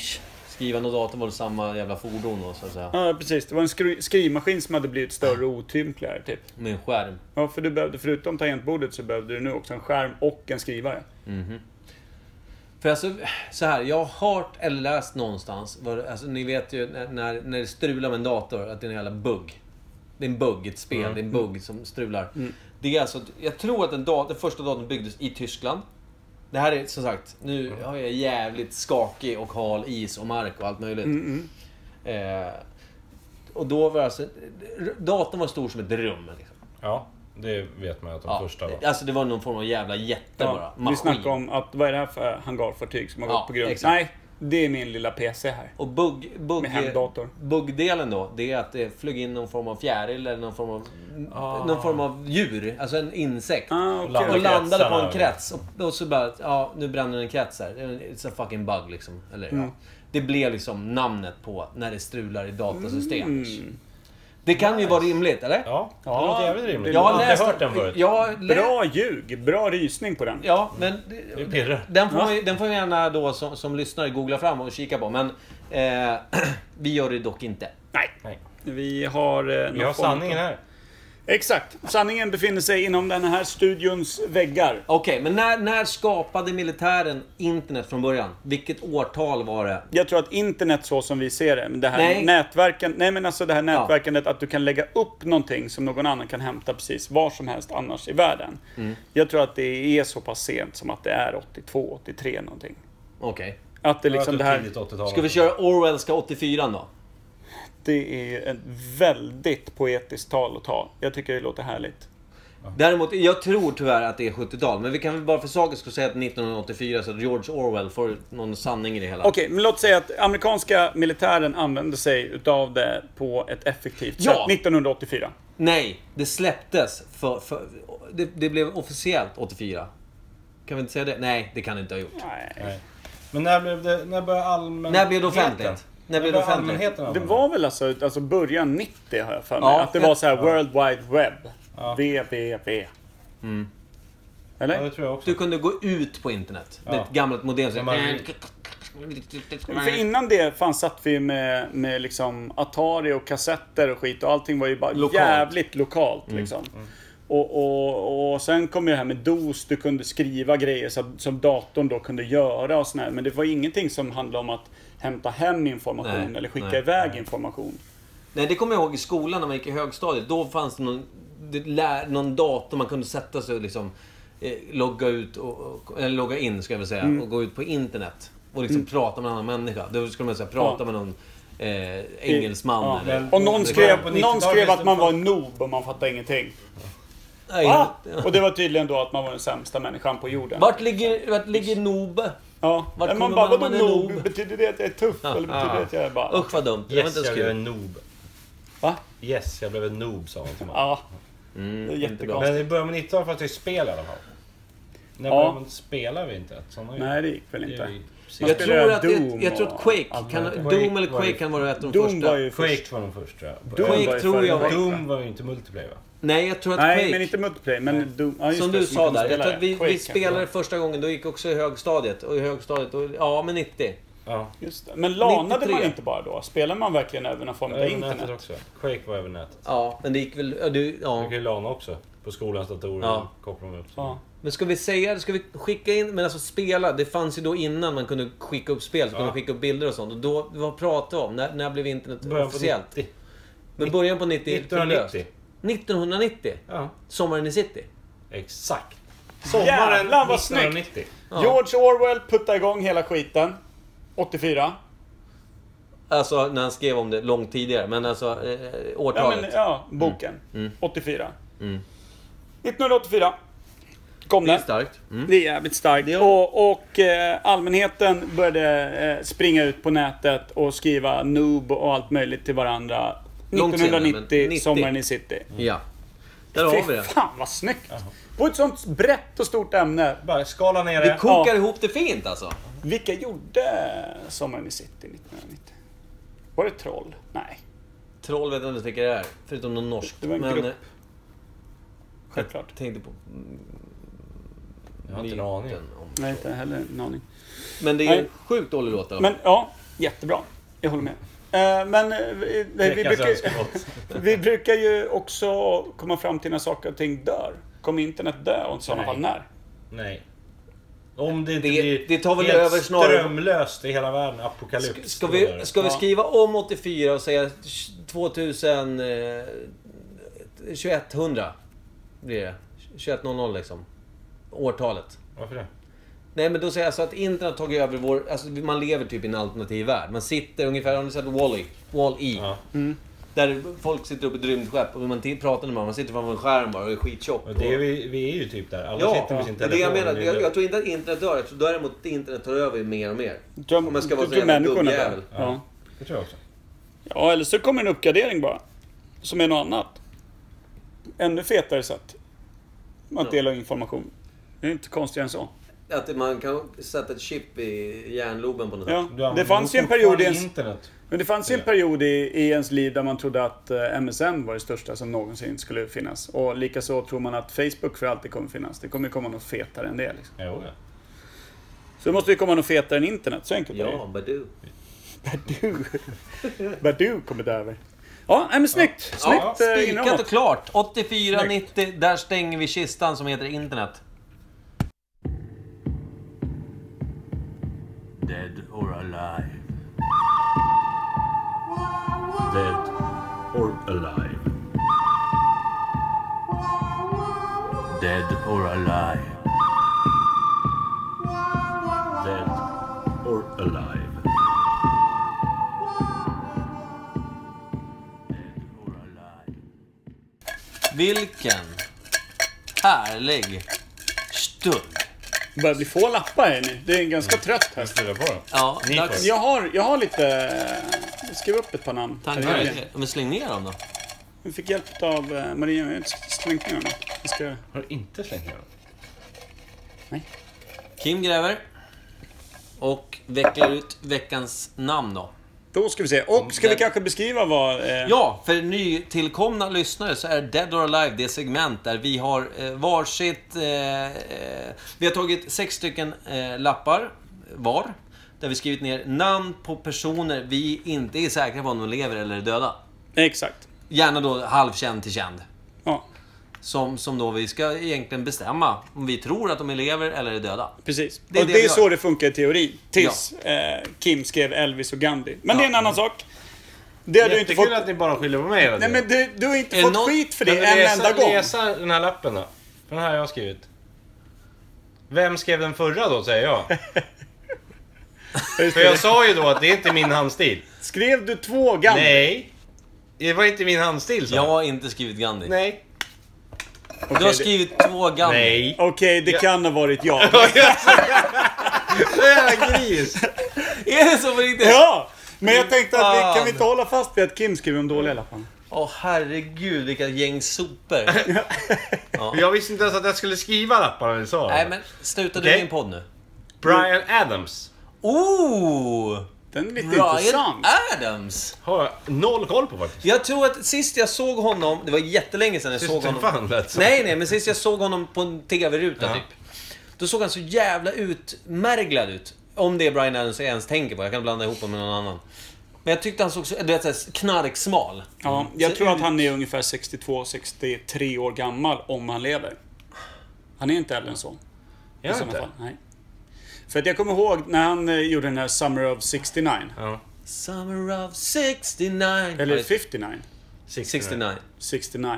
Skrivande och datorn var samma jävla fordon då så att säga.
ja, precis. Det var en skri- skrivmaskin som hade blivit större och otympligare typ.
Med en skärm.
Ja, för du behövde, förutom tangentbordet så behövde du nu också en skärm och en skrivare.
För alltså, så här, jag har hört eller läst någonstans. vad- Alltså, ni vet ju när- när, när det strular med en dator att det är en jävla bugg. Det är en bugg i ett spel. Det är en bugg som strular. Det är alltså, jag tror att den, dat- den första datorn byggdes i Tyskland. Det här är som sagt, nu har jag jävligt skakig och hal is och mark och allt möjligt. Eh, och då var alltså, datorn var stor som ett rum. Liksom.
Ja, det vet man ju att de första var.
Alltså det var någon form av jävla jätte bara.
Ja, vi snackade om att vad är det här för hangarfartyg som har
Ja,
gått på grund?
exakt.
Nej, Det är min lilla PC här.
Och bugg, bugg,
Med hemdator.
buggdelen då, det är att det flög in någon form av fjäril eller någon form av,
Ah.
någon form av djur, alltså en insekt.
Ah, okej.
Landar
Och landade på
kretsarna
en krets och, och så bara, ja nu bränner en krets här. It's a fucking bug liksom. Eller,
Mm.
ja. Det blev liksom namnet på när det strular i datasystem.
Mm.
Det kan ju vara rimligt, eller?
Ja, det låter jävligt rimligt.
Jag
Jag
har
har
läst
aldrig hört den förut.
Jag har lä-
Bra ljug. Bra rysning på den.
Ja, men...
Det pirrar.
Den får, man, ju- den får man gärna då som, som lyssnare googla fram och kika på. Men eh, (clears throat) vi gör det dock inte.
Nej.
Nej.
Vi har... Eh,
Vi har sanningen här.
Exakt. Sanningen befinner sig inom den här studions väggar.
Okej, men när, när skapade militären internet från början? Vilket årtal var det?
Jag tror att internet så som vi ser det, men det här
Nej.
nätverken, nej men alltså det här nätverkandet att du kan lägga upp någonting som någon annan kan hämta precis var som helst annars i världen.
Mm.
Jag tror att det är så pass sent som att det är 82, 83 någonting.
Okej.
Att det liksom det här,
Tidigt 80-tal.
Ska vi köra Orwellska 84 då?
det är ju ett väldigt poetiskt tal att ta. Jag tycker det låter härligt.
Däremot, jag tror tyvärr att det är 70-tal. Men vi kan väl bara för sakens skull säga att 1984 så att George Orwell får någon sanning i det hela.
Okej, men låt säga att amerikanska militären använde sig utav det på ett effektivt
Ja.
sätt 1984.
Nej, det släpptes för... för det, det blev officiellt 84. Kan vi inte säga det? Nej, det kan det inte ha gjort.
Nej.
Nej. Men när blev det... När började allmänheten?
När blev det offentligt? När blev det
började
offentligt?
allmänheten
Det
använda
var väl alltså, alltså början 90 har jag för mig.
Ja,
att det
jag-
var så här World Wide Web. WWW.
Mm.
Ja, det
Eller?
tror jag också.
Du kunde gå ut på internet. Det är ett gammalt modem. Så...
Ja, man-
För innan det fanns satt vi med, med liksom Atari och kassetter och skit och allting var ju bara
Lokalt. Mm.
jävligt lokalt liksom. Och, och, och sen kom ju det här med DOS, du kunde skriva grejer så, som datorn då kunde göra och sån här. Men det var ingenting som handlade om att hämta hem information
Nej,
eller skicka
nej,
iväg information.
Nej, det kommer jag ihåg i skolan när man gick i högstadiet. Då fanns det någon, det lär, någon dator man kunde sätta sig och liksom, eh, logga ut och, och, eller logga in ska jag väl säga,
Mm.
och gå ut på internet. Och liksom prata med en annan människa. Då skulle man säga prata
Ja.
med någon eh, engelsman.
Ja.
Eller,
Och någon
Det-
på
skrev,
90-talet
någon skrev
visste
att man
fan.
var en noob och man fattade ingenting.
Nej,
Ah!
ja.
Och det var tydligen då att man var den sämsta människan på jorden.
Vart ligger, vart ligger Nobe?
Ja.
vart
Men
kommer
man bara,
man
vadå
med
noob?
noob?
Betyder det att jag är tuff? Eller betyder det att jag är bara...
Usch vad dumt. Det var
Yes,
inte ens
jag blev
kul.
en noob.
Va?
Yes, jag blev en noob sa han till mig.
Ja.
Mm,
Det är jättekonstigt.
Men det började med 90-talet för att det är spel i alla fall. När
Ja.
började man spela vid internet? Sådana
Nej, det gick väl
det är
inte.
ju-
Jag
spelar
tror, att, jag,
Doom
jag tror att
och
Quake,
allt
kan,
möjligt.
Doom eller
Quake var ju-
Quake kan vara ett av de
Doom
första.
var ju först.
Quake var de första.
Doom
Eh,
var ju
tror
före
jag var-
Quake, va?
Doom var ju inte multiplayer va?
Nej, jag tror att
Nej,
Quake...
men inte multiplayer. Men Doom... Ja, just
Som
det,
du sa
kunde
där, jag
spela
tror att
det.
vi,
Quake
vi
kanske
spelade
var.
första gången, då gick också i högstadiet. Och i högstadiet, och, ja men 90.
Ja.
Just det. Men lanade man
93.
inte bara då? Spelade man verkligen över någon form av
Över nätet
internet?
också. Quake var över nätet.
Ja, men det gick väl... Ja, du,
Man
ja.
kan ju lana också. På skolans datorer
Ja.
kopplar man upp sig.
Ja.
Men ska vi säga, ska vi skicka in, men alltså spela, det fanns ju då innan man kunde skicka upp spel, så kunde man skicka upp bilder och sånt. Och då, vad pratade vi om? När, när blev internet
Början på
officiellt?
90.
Men början på 90?
1990.
1990?
Ja,
Sommaren i city?
exakt.
Jävlar, vad snyggt!
1990.
George Orwell puttade igång hela skiten. 84.
Alltså, när han skrev om det långt tidigare, men alltså eh,
Ja,
årtalet.
men, ja boken.
Mm.
84. 1984 kom den.
Starkt. Mm.
Det är jävligt starkt.
Det-
Och, och eh, allmänheten började eh, springa ut på nätet och skriva noob och allt möjligt till varandra.
Långt senare, men
1990,
90.
sommaren i city.
Ja. Där har vi
Fy
det.
fan vad snyggt! På ett sånt brett och stort ämne.
Bara skala ner
Vi
det.
kokar
Ja.
ihop det fint alltså.
Vilka gjorde eh, Sommaren i city 1990? Var det troll? Nej,
Troll vet jag inte vilka det är, förutom någon norsk.
Det var en grupp.
eh,
självklart.
tänkte på...
Jag har inte en aning.
Nej, inte heller en aning.
Men det är ju en
Nej.
sjukt dålig låt då.
Men ja, jättebra. Jag håller med. Eh, Men eh, vi, vi,
Veckans
brukar,
önskemål.
(laughs) vi brukar ju också komma fram till när saker och ting dör. Kommer internet dö och i sådana
Nej.
fall när?
Nej. Om det inte
Det-
blir
det tar väl
helt
över snarare-
strömlöst i hela världen. Apokalyps.
Ska
då är
vi,
det.
ska vi
Ja.
skriva om 84 och säga 2000... Eh, 2100? Blir det. 2100 liksom. Årtalet.
Varför det?
Nej men då säger jag alltså att internet har tagit över vår... Alltså man lever typ i en alternativ värld. Man sitter ungefär... Har ni sett Wall-E? Wall-E.
Ja.
Där folk sitter uppe i ett rymdskepp och man t- pratar med varandra. Man sitter framför en skärm bara och är skittjock.
Och det är vi, vi är ju typ där. Alla
Ja,
sitter med sin
det är
telefon.
det jag menar.
och
Jag, jag tror inte att internet dör. Jag tror däremot att internet tar över mer och mer.
Dröm,
Om man ska vara så
dröm-
jävla
människorna där.
gubbjävel.
Ja.
Det tror jag också.
ja, eller så kommer en uppgradering bara. Som är något annat. Ännu fetare sätt. Att dela information. Det är inte konstigare än så.
Att man kan sätta ett chip i hjärnloben på något
Du
sätt.
Ja,
använder
det fanns ju en
fortfarande
period i ens,
internet.
men det fanns ju en period i, i ens liv där man trodde att eh, MSN var det största som någonsin skulle finnas. Och likaså tror man att Facebook för alltid kommer finnas. Det kommer komma något fetare än det. Liksom.
Jo, ja.
Så det måste ju komma något fetare än internet, så enkelt är det
(laughs) Ja, men du.
ju. (laughs) Badu. Badu kommit över. Ja, nej, men snyggt.
Ja,
Snyggt eh,
spikat och
inramat.
klart. 84-90, där stänger vi kistan som heter internet.
Dead or alive.
Dead or alive.
Dead or alive.
Dead or alive.
Vilken härlig stund.
Det börjar bli få lappar här nu. Det är en ganska trött här.
Fylla på den.
Ja,
Ni
dags.
först.
Jag har, jag har lite... Jag skrev upp ett par namn. Här är det.
Tankar. Men släng ner dem då.
Vi fick hjälp av eh, Maria. Jag har inte slängt ner honom. Jag ska...
Har du inte slängt ner den?
Kim gräver. Och vecklar ut veckans namn då.
Då ska vi se. Och ska vi
det-
kanske beskriva vad... Eh,
Ja, för nytillkomna lyssnare så är Dead or Alive det segment där vi har eh, varsitt... Eh, eh, vi har tagit sex stycken eh, lappar var. Där vi skrivit ner namn på personer vi inte är säkra på om de lever eller är döda.
Exakt.
Gärna då halvkänd till känd.
Ja,
Som, som då vi ska egentligen bestämma om vi tror att de är lever eller är döda.
precis.
Det är
och
det
det
vi
är
gör.
så det funkar i teorin. Tills eh, Kim skrev Elvis och Gandhi. Men det är en annan sak. Det har du inte fått...
Jättekul att ni bara skyller på mig hela
Nej
tiden.
men du, du har inte
Är
fått
någon-
skit för
Nej,
det
men
en
läsa,
enda gång.
Läsa den här lappen då. För Den här har jag skrivit. Vem skrev den förra då, säger jag.
(laughs) Just
För
det.
jag sa ju då att det är inte min handstil.
Skrev du två Gandhi?
Nej. Det var inte min handstil, sa
Jag
jag.
har inte skrivit Gandhi.
Nej.
Du har
det-
skrivit två Gandhi.
Nej.
Okej, det kan ha varit
(laughs)
jag.
Jävla gris.
(laughs) Är det så på riktigt?
ja! Men jag tänkte att vi, kan
Fan.
vi inte hålla fast vid att Kim skriver de dåliga lapparna?
Åh herregud, vilka gäng sopor.
Jag visste inte ens att jag skulle skriva lapparna när du sa det.
Nej men, sluta du
Okej.
med din podd nu.
Brian Adams.
Oh!
Den är lite
Brian
intressant.
Adams!
Har jag noll koll på faktiskt.
Jag tror att sist jag såg honom, det var jättelänge sedan jag såg
Tyst
honom.
fan lät så.
Nej, nej, men sist jag såg honom på en TV-ruta typ. Då såg han så jävla utmärglad ut. Om det är Brian Adams jag ens tänker på. Jag kan blanda ihop honom med någon annan. Men jag tyckte han såg så, du vet, så här knarksmal.
Ja, jag
Så
tror att
ut-
han är ungefär 62-63 år gammal om han lever. Han är inte äldre än så.
Jag
I
vet
sådana
inte.
fall. Nej. För att jag kommer ihåg när han eh, gjorde den här Summer of 69.
Ja.
Summer of 69.
Eller
Nej,
59.
69.
69.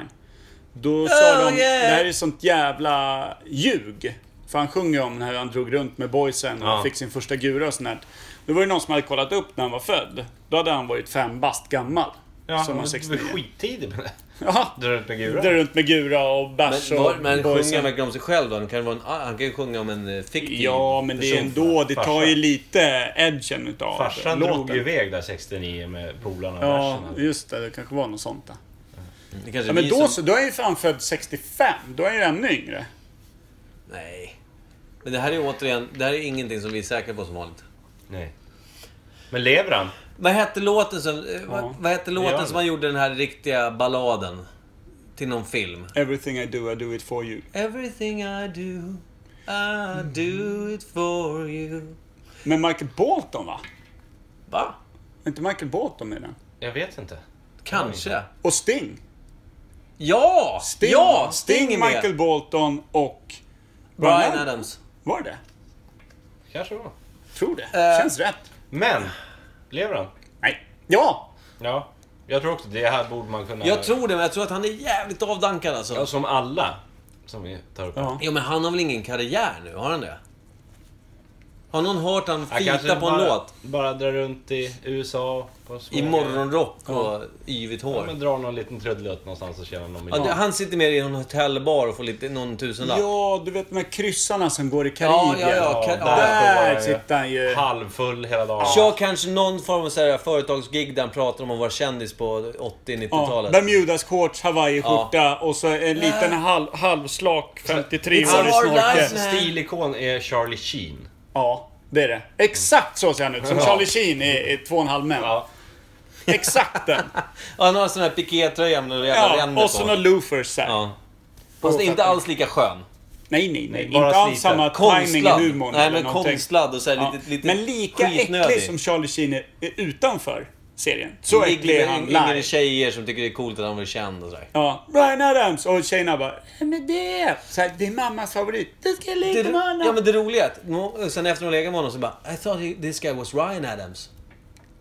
Då
Oh,
sa de,
yeah.
det här är sånt jävla ljug. För han sjunger om när han drog runt med boysen och
Ja.
fick sin första gura och sånt där. Då var det någon som hade kollat upp när han var född. Då hade han varit fem bast gammal.
Ja,
som
men
var
du är
69.
skittidig med det.
Ja,
Drar ut med gura.
drar runt med gura och bärs
Men,
och
var, men
boysen.
sjunger han verkligen om sig själv då? Han kan, vara en, ah, han kan ju sjunga om en eh, fiktiv
Ja, men det är
person.
ändå, det tar ju
Farsan.
lite edgen utav
Farsan
låten.
drog ju iväg där 69 med polarna och
Ja,
verserna.
just det. Det kanske var något sånt där.
Det kanske
Ja,
är
men
vi
då
som-
så, då är ju fan född 65. Då är ju ännu yngre.
Nej. Men det här är återigen, det här är ingenting som vi är säkra på som vanligt.
Nej. Men lever han?
Vad hette låten som, eh, vad, vad hette
gör
låten
det.
som man gjorde den här riktiga balladen? Till någon film.
Everything I do, I do it for you.
Everything I do, I
Mm.
do it for you.
Men Michael Bolton va?
Va?
Är inte Michael Bolton med i den?
Jag vet inte.
Kanske.
Och Sting.
Ja!
Sting
ja!
Sting,
Sting är med.
Michael Bolton och...
Brian Adams.
Var det
Kanske var.
Tror det.
Eh.
Känns rätt.
Men, lever han?
Nej. Ja!
Ja. Jag tror också det här borde man kunna...
Jag tror det, men jag tror att han är jävligt avdankad alltså.
Ja, Som alla som vi tar upp.
Ja.
Jo, men han har väl ingen karriär nu? Har han det? Har någon hört han fita på en
bara,
låt?
Bara drar runt i USA. På små-
I morgonrock och yvigt
Ja,
hår.
men drar någon liten trudelutt någonstans och tjänar någon
Ja,
miljon.
det- han sitter mer i någon hotellbar och får lite, någon tusenlapp.
Ja, du vet de här kryssarna som går i Karibien.
Ja, ja, ja, ka- ja.
Där
Ja.
sitter han ju.
Halvfull hela dagen.
Kör kanske någon form av så här företagsgig där han pratar om att vara kändis på 80-90-talet.
Bermudas shorts, hawaiiskjorta och så en liten halv, halvslak 53-årig
It's our life,
snorkel.
man.
Stilikon är Charlie Sheen.
Ja, det är det. Exakt så ser han ut. Som Charlie Sheen i, i Två och en halv män.
Ja.
Exakt
(laughs)
den.
Ja, han har en sån här pikétröja med några jävla
Ja,
ränder
och så några
på.
loafers där.
Ja. Fast inte alls lika skön.
Nej, nej, nej.
bara
Inte alls
sliten.
samma timing i
Konstlad.
humorn
Nej,
eller
men
någonting.
konstlad och så här
Ja.
lite, lite
Men lika äcklig som Charlie Sheen är utanför serien. Så äcklig är han
Yngre
live.
tjejer som tycker det är coolt att han var känd och sådär.
Ja, Bryan Adams och tjejerna bara "Nej, men det, så här, det är mammas favorit. Det ska jag ligga
Det,
med honom.
ja men det roliga är att nå- sen efter att legat med honom så bara I thought this guy was Ryan Adams.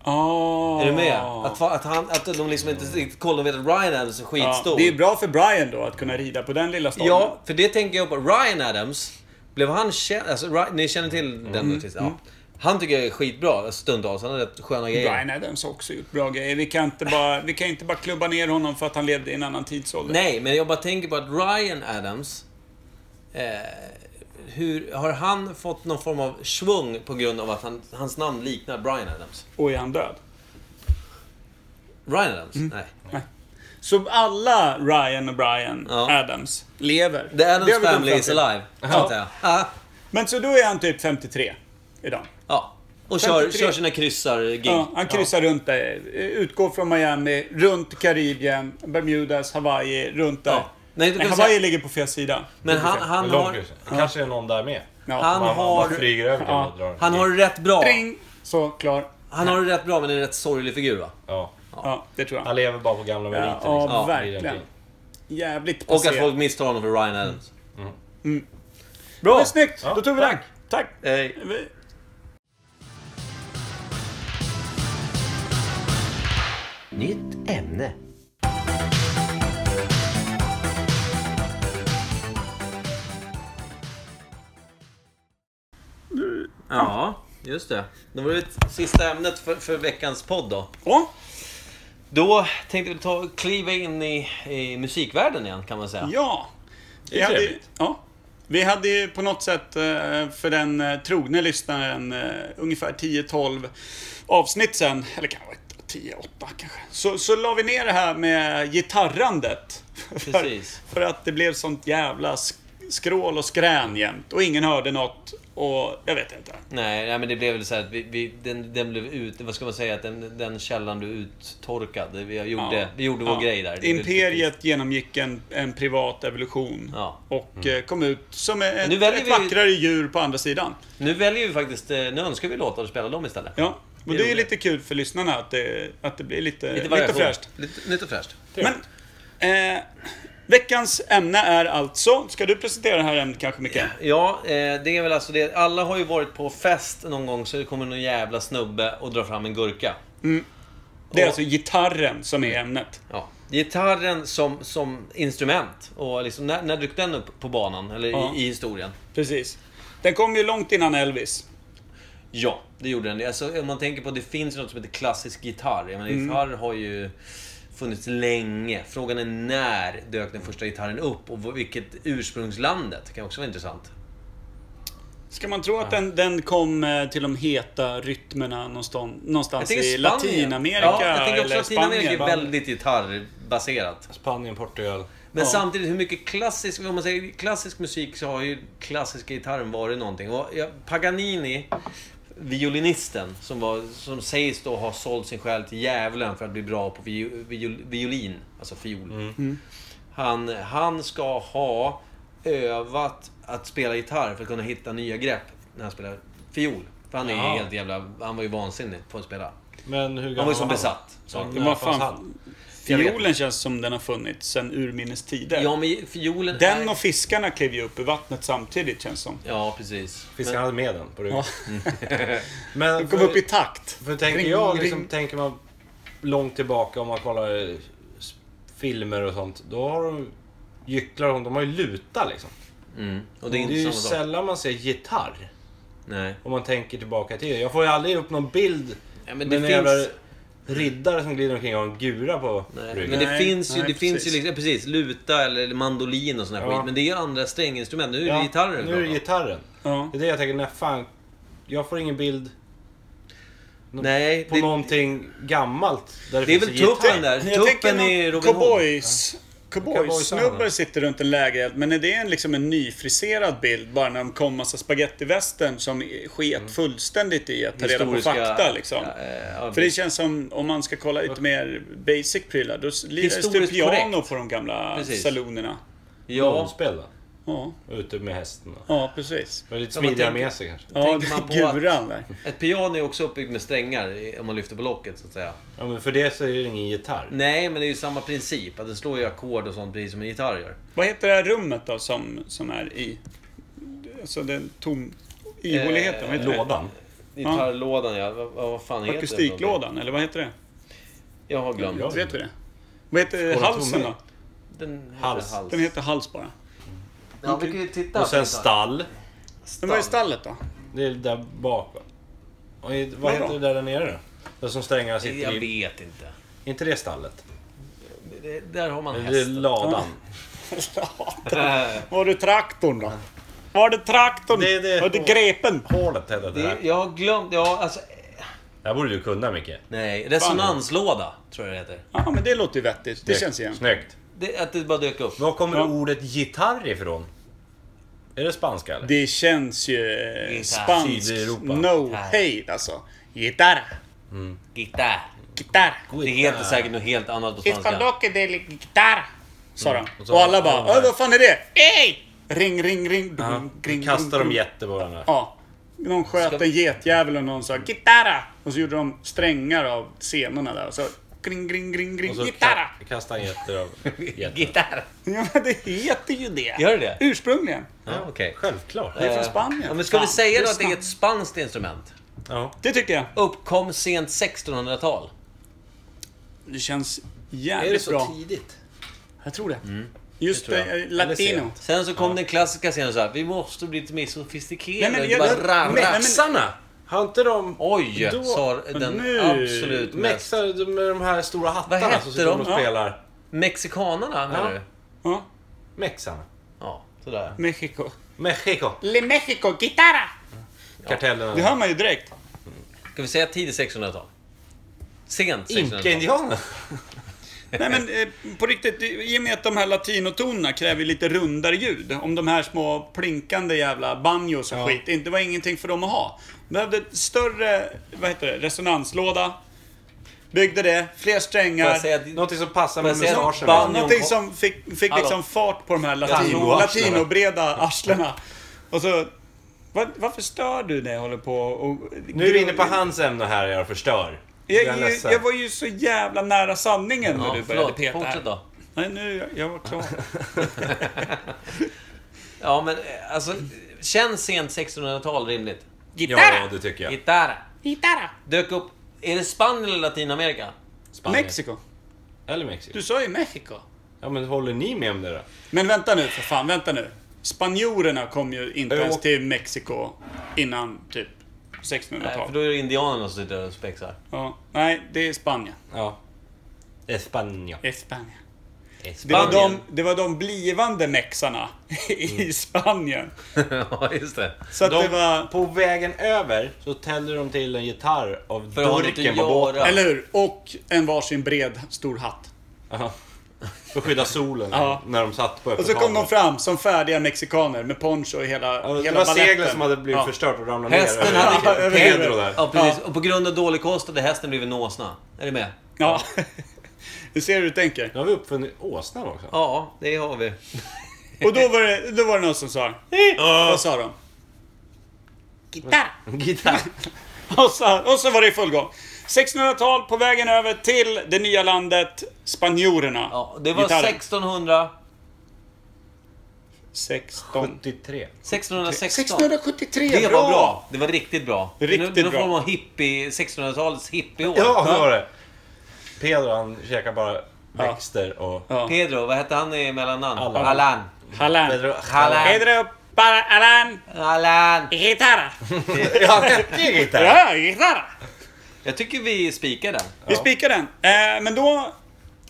Ah.
Är du med? Att, fa- att, han, att de liksom inte riktigt kollar och vet att Ryan Adams är
Ja,
skitstor.
det är bra för Brian då att kunna rida på den lilla stormen.
Ja, för det tänker jag på. Ryan Adams, blev han känd? Alltså, Ry- ni känner till den
Mm.
artisten? Ja. Han tycker jag är skitbra stundtals. Han har rätt sköna grejer.
Brian Adams har också gjort bra grejer. Vi kan, inte bara, vi kan inte bara klubba ner honom för att han levde i en annan tidsålder.
Nej, men jag bara tänker på att Ryan Adams... Eh, hur, har han fått någon form av svung på grund av att han, hans namn liknar Brian Adams?
Och är han död?
Ryan Adams? Nej.
Så alla Ryan och Brian
Ja.
Adams lever.
The
Det
Adams
har vi kommit
family
fram
is
till.
alive, så att säga. Ah,
Men så då är han typ 53 idag.
ja. Och kör,
53.
kör sina kryssar-gig.
Ja, han kryssar runt där. Utgår från Miami, runt Karibien, Bermudas, Hawaii, runt där.
Ja. Nej,
Nej,
du kan
Hawaii
säga-
ligger på fel sida.
Men han, han
Lång
har...
kryss. Kanske är någon där med.
Ja.
Han
Man,
har-
man flyger över till
Ja.
och drar.
Han har det rätt bra.
Ring! Så, klar.
Han har det rätt bra, men är en rätt sorglig figur, va?
Ja.
Ja, det tror jag.
Han lever bara på gamla meriter.
Ja,
liksom.
ja
Ja.
verkligen. Jävligt
Och att
passé.
folk misstar honom för Ryan Adams.
Bra! Men snyggt!
Ja,
Då tog vi den.
tack.
Tack!
Eh,
Vi-
Nytt ämne.
ja, just det. Det var det sista ämnet för, för veckans podd då.
Ja,
Då tänkte vi ta, kliva in i, i musikvärlden igen kan man säga.
ja. Vi hade, ju- ja. Vi hade ju på något sätt eh, för den eh, trogne lyssnaren eh, ungefär 10-12 avsnitt sen, eller kanske 10-8 kanske, så, så la vi ner det här med gitarrandet. (laughs)
Precis.
För, för att det blev sånt jävla sk- skrål och skrän jämt och ingen hörde något och jag vet inte.
Nej, nej, men det blev väl så här att vi, vi, den, den blev ut... Vad ska man säga? Att den, den källan blev uttorkad. Vi gjorde,
Ja.
vi gjorde
Ja.
vår grej där. Det blev-
Imperiet genomgick en, en privat evolution
Ja. Mm.
och eh, kom ut som ett,
nu väljer
ett
vi-
vackrare djur på andra sidan.
Nu väljer vi faktiskt... eh, Nu önskar vi låtar och spelar dem istället.
Ja. Och
är
det är ju
roligt.
lite kul för lyssnarna att det, att det blir lite,
Lite
lite,
variation.
fräscht.
Lite, lite fräscht.
Men, eh, veckans ämne är alltså... Ska du presentera det här ämnet kanske, Micke?
Ja, eh, det är väl alltså det. Alla har ju varit på fest någon gång så det kommer någon jävla snubbe och drar fram en gurka.
Mm. Det är
Och-
alltså gitarren som är ämnet.
Ja. Gitarren som, som instrument. Och liksom, när, när dök den upp på banan? Eller
Ja.
i, i historien?
Precis. Den kom ju långt innan Elvis.
Ja, det gjorde den. Alltså, om man tänker på det finns ju något som heter klassisk gitarr. Jag menar,
Mm.
gitarr har ju funnits länge. Frågan är när dök den första gitarren upp och vilket ursprungslandet? Det kan också vara intressant.
Ska man tro att den, den kom eh, till de heta rytmerna någonstans, någonstans Alltså, i
Spanien.
Latinamerika
Ja, jag tänker också
eller
Latinamerika är
Spanien?
väldigt gitarrbaserat.
Spanien, Portugal.
Men
Ja.
samtidigt, hur mycket klassisk, om man säger klassisk musik så har ju klassiska gitarren varit någonting. Och ja, Paganini, violinisten, som, var, som sägs då ha sålt sin själ till djävulen för att bli bra på viol, viol, violin, alltså fiol.
Mm.
Han, han ska ha övat att spela gitarr för att kunna hitta nya grepp när han spelar fiol. För han är ju
Ja.
helt jävla... Han var ju vansinnig på att spela.
Men hur gammal
Han var ju som
han?
besatt. Så.
Ja,
Det var
när fanns
fan...
han?
Jag vet
Fiolen känns som den har funnits sedan urminnes tider.
Ja, men fiolen...
Den
är-
och fiskarna klev ju upp i vattnet samtidigt känns som.
Ja, precis.
Fiskarna hade med den på ryggen.
Ja. (laughs)
Men
De kom
för-
upp i takt.
För tänker
Ring,
jag, liksom,
ring.
tänker man långt tillbaka om man kollar eh, s- filmer och sånt. Då har de gycklar och sånt, de har ju luta liksom.
Mm. Och
Det
det är
är
inte
ju
samma sak.
sällan man ser gitarr.
Nej.
Om man tänker tillbaka i tiden. Jag får ju aldrig upp någon bild
Ja, men
med
det
en
finns-
jävla riddare som glider omkring och har en gura på
Nej,
ryggen.
men det
Nej,
finns ju,
nej,
det finns ju
precis.
liksom, precis, luta eller mandolin och sån här
Ja.
skit. Men det är ju andra stränginstrument. Nu är det
Ja,
gitarrer.
Nu är det
bara.
gitarren.
Ja.
Det är det jag tänker, när fan... Jag får ingen bild
Nej,
på
det,
någonting gammalt. Där det,
det är
finns
väl
en gitarr.
tuppen där.
Jag tänker
Tuppen i
någon
Robin Hood.
cowboys...
Cowboysnubbar
Cowboysnubbar sitter runt en lägereld, men är det en, liksom en nyfriserad bild bara när de kom massa spagettivästern som
Mm.
sket fullständigt i att ta reda på
Historiska-
fakta liksom?
Ja, eh, ja,
För det känns som, om man ska kolla lite mer basic prylar, då lirades det
Historiskt
piano
korrekt.
på de gamla
Precis.
salonerna.
Ja,
Rollspel då.
Ja,
Ute med hästen. då.
ja precis.
Det var lite
Ja, man
smidigare
tänker-
med sig kanske.
Ja,
tänker man på att-
guran där.
ett piano är också uppbyggt med strängar i- om man lyfter på locket så att säga.
Ja, men för det så är det ingen gitarr.
Nej, men det är ju samma princip. Att den slår ju ackord och sånt precis som en gitarr gör.
Vad heter det här rummet då som, som är i? Alltså den tom... Ihåligheten, vad heter det?
Eh, Lådan.
Gitarrlådan ja, vad, vad fan heter den?
Akustiklådan, eller vad heter det?
Jag har glömt.
Ja.
Vet vi det? Vad heter
Skåla
halsen
tumme.
då?
Den heter
Hals.
hals.
Den heter hals bara.
Ja, vi kan ju titta.
Och sen
på
stall.
Men vad är stallet då?
Det är där bak va? Och i, vad
Vadå?
heter det där, där nere då? Där som strängarna sitter
Jag
i.
vet inte.
inte det stallet?
Det, där har man
Eller det är
hästen.
ladan. (laughs)
Var det traktorn då? Var det traktorn?
Det är det-
Var det grepen?
Hålet hette det
Det,
där.
jag har glömt, ja alltså...
Det här borde du kunna Micke.
Nej, resonanslåda tror jag det heter.
Ja, men det låter ju vettigt. Det
Snyggt.
känns igen.
Snyggt.
Det, att det bara dök upp.
Var kommer
Ja.
ordet gitarr ifrån? Är det spanska eller?
Det känns ju eh,
Gitarr.
spanskt.
Sydeuropa.
No
Gitarr.
hejd alltså. Gitarr.
Gitarr.
Gitarr.
Det heter säkert något helt annat på svenska.
Espandoke del gitarr. Sa de.
Mm. och så-
Och alla bara,
alla
"Åh,
där.
vad fan är det? Ey! Ring, ring, ring.
Ja,
dum, ring,
kastar
dum,
de
dum.
jätte på varandra.
Ja. Någon sköt en getjävel och någon sa gitarra. Och så gjorde de strängar av scenerna där. Och så kring, kring, kring,
Och
kring,
så
gitarra.
ka- kastar han jätter av jätten.
Gitarr.
(laughs) Ja, men det heter ju det.
Gör det det?
Ursprungligen.
Ja, okej.
Självklart.
Det är från Spanien.
Ja, men ska vi
Fan,
säga då
lyssna.
att det är ett spanskt instrument?
Ja.
Det tycker jag.
Uppkom sent 1600-tal.
Det känns jävligt bra.
tidigt?
Jag tror det.
Mm.
Just
det tror jag.
det, eh, latino.
sent.
Sen så kom den klassiska scenen så här. Vi måste bli lite mer sofistikerade.
Nej, men
och
jag-
bara
jag-
rarra.
men-
Mexarna! Har inte de...
Oj,
Då-
sa den
nu-
absolut mest.
Mexar de- med de här stora
Vad
hattarna
hette
som sitter
de?
och spelar?
Mexikanerna menar du?
Ja.
Mexarna.
Ja, sådär.
Mexico.
Mexico.
Le Mexico, gitarra!
Kartellerna.
Det hör man ju direkt.
Ska vi säga tidigt 1600-tal? Sent 1600-tal?
Inka-indianen.
Nej men eh, på riktigt, i och med att de här latinotonerna kräver lite rundare ljud. Om de här små plinkande jävla banjos och skit, inte var ingenting för dem att ha. De behövde ett större, vad heter det, resonanslåda. Byggde det, fler
Får
strängar.
jag säga att-
Någonting som passar med
Får jag säga att
mustaschen.
ban-
Någonting som fick, fick
Hallå.
liksom fart på de här
Latino-
latino,
arslena.
latinobreda arslena. Och så... Var, varför stör du när jag håller på och...
Nu är vi inne på hans ämne här jag förstör.
Jag,
är
jag,
ledsen.
jag var ju så jävla nära sanningen när
Ja,
du började
förlåt.
peta här.
Fortsätt då.
Nej, nu... Jag, jag
(laughs)
var klar.
Ja, men eh, alltså... Känns sent 1600-tal rimligt?
Ja, det tycker jag.
Gitarra. Dök upp... Är det Spanien eller Latinamerika?
Spanien.
Mexiko.
Eller Mexiko.
Du sa ju Mexiko.
Ja, men håller ni med om det då?
Men vänta nu för fan, vänta nu. Spanjorerna kom ju inte
Jo.
ens till Mexiko innan typ
Nej, för
1600-talet.
då är det indianerna som sitter där och spexar.
Ja, nej, det är Spanien.
Ja. Espanja.
Det är Spanien. Det
Spanien.
var, de, det var de blivande mexarna (laughs) i Spanien.
(laughs) ja, just det.
Så att det
Mm. De,
var...
På vägen över så täller de till en gitarr av
För att ha något
durken
att
på båten.
göra.
Eller hur? Och en varsin bred stor hatt.
Aha. För att skydda solen
Ja.
när de satt på öppet
Och så kom
hav.
de fram som färdiga mexikaner med poncho och hela,
Ja, Det
hela
var
baletten.
seglen som hade blivit
Ja.
förstört och ramlat
Hästen
ner.
hade-
över-
över
Pedro
huvudet.
där.
Ja, precis. Och på grund av dålig kost hade hästen blivit nåsna. Är du med?
Ja. (laughs) Du ser hur du tänker.
Nu har vi uppfunnit åsnan också.
Ja, det har vi.
Och då var det, då var det någon som sa... Vad sa de? Gitarr.
(laughs) Gitarr.
Och så, och så var det i full gång. 1600-tal på vägen över till det nya landet spanjorerna.
Ja, det var
Gitarren.
1600...
16...
73.
1616.
673,
Det
bra!
var bra. Det var riktigt bra.
Riktigt
det är någon
bra.
form av hippie, 1600-talets hippieår.
Ja, det var det. Pedro han käkar bara växter och...
Ja.
Pedro, vad hette han i mellannamn?
Allan.
Allan.
Halland.
Pedro,
Halland.
Pedro Bara Alan,
Allan!
gitarr.
(laughs)
Ja, det är gitarr.
Ja, gitarr.
Jag tycker vi spikar den.
Vi spikar den. Eh, men då...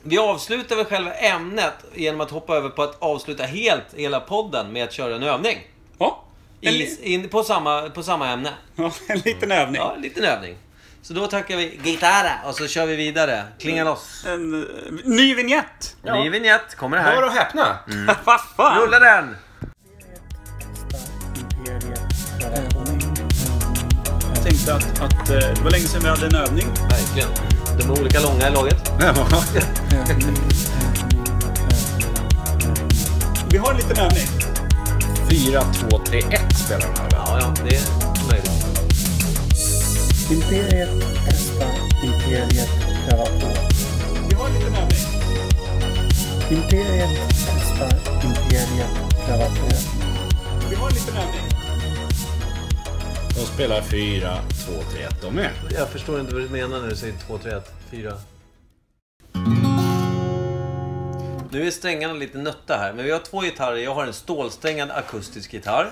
Vi avslutar väl själva ämnet genom att hoppa över på att avsluta helt hela podden med att köra en övning.
Ja, en,
I,
li-
in, på, samma, på samma ämne.
ja, en liten övning.
Mm. Ja, en liten övning. Så då tackar vi gitarra och så kör vi vidare. Klinga loss.
En eh, ny vignett.
Ny vignett kommer
Hör
här.
och häpna.
Mm. (laughs)
Vad fan?
Rulla den!
Jag tänkte att, att eh, det var länge sedan vi hade en övning.
Verkligen. De är olika långa i laget.
Vi har en liten övning.
4, 2, 3, 1 spelar den här.
Ja, ja, det är möjligt.
Vi har en liten övning. Vi har en liten övning.
De spelar 4, 2, 3, 1 de med.
Jag förstår inte vad du menar när du säger 2, 3, 1, 4. Nu är strängarna lite nötta här, men vi har två gitarrer. Jag har en stålsträngad akustisk gitarr.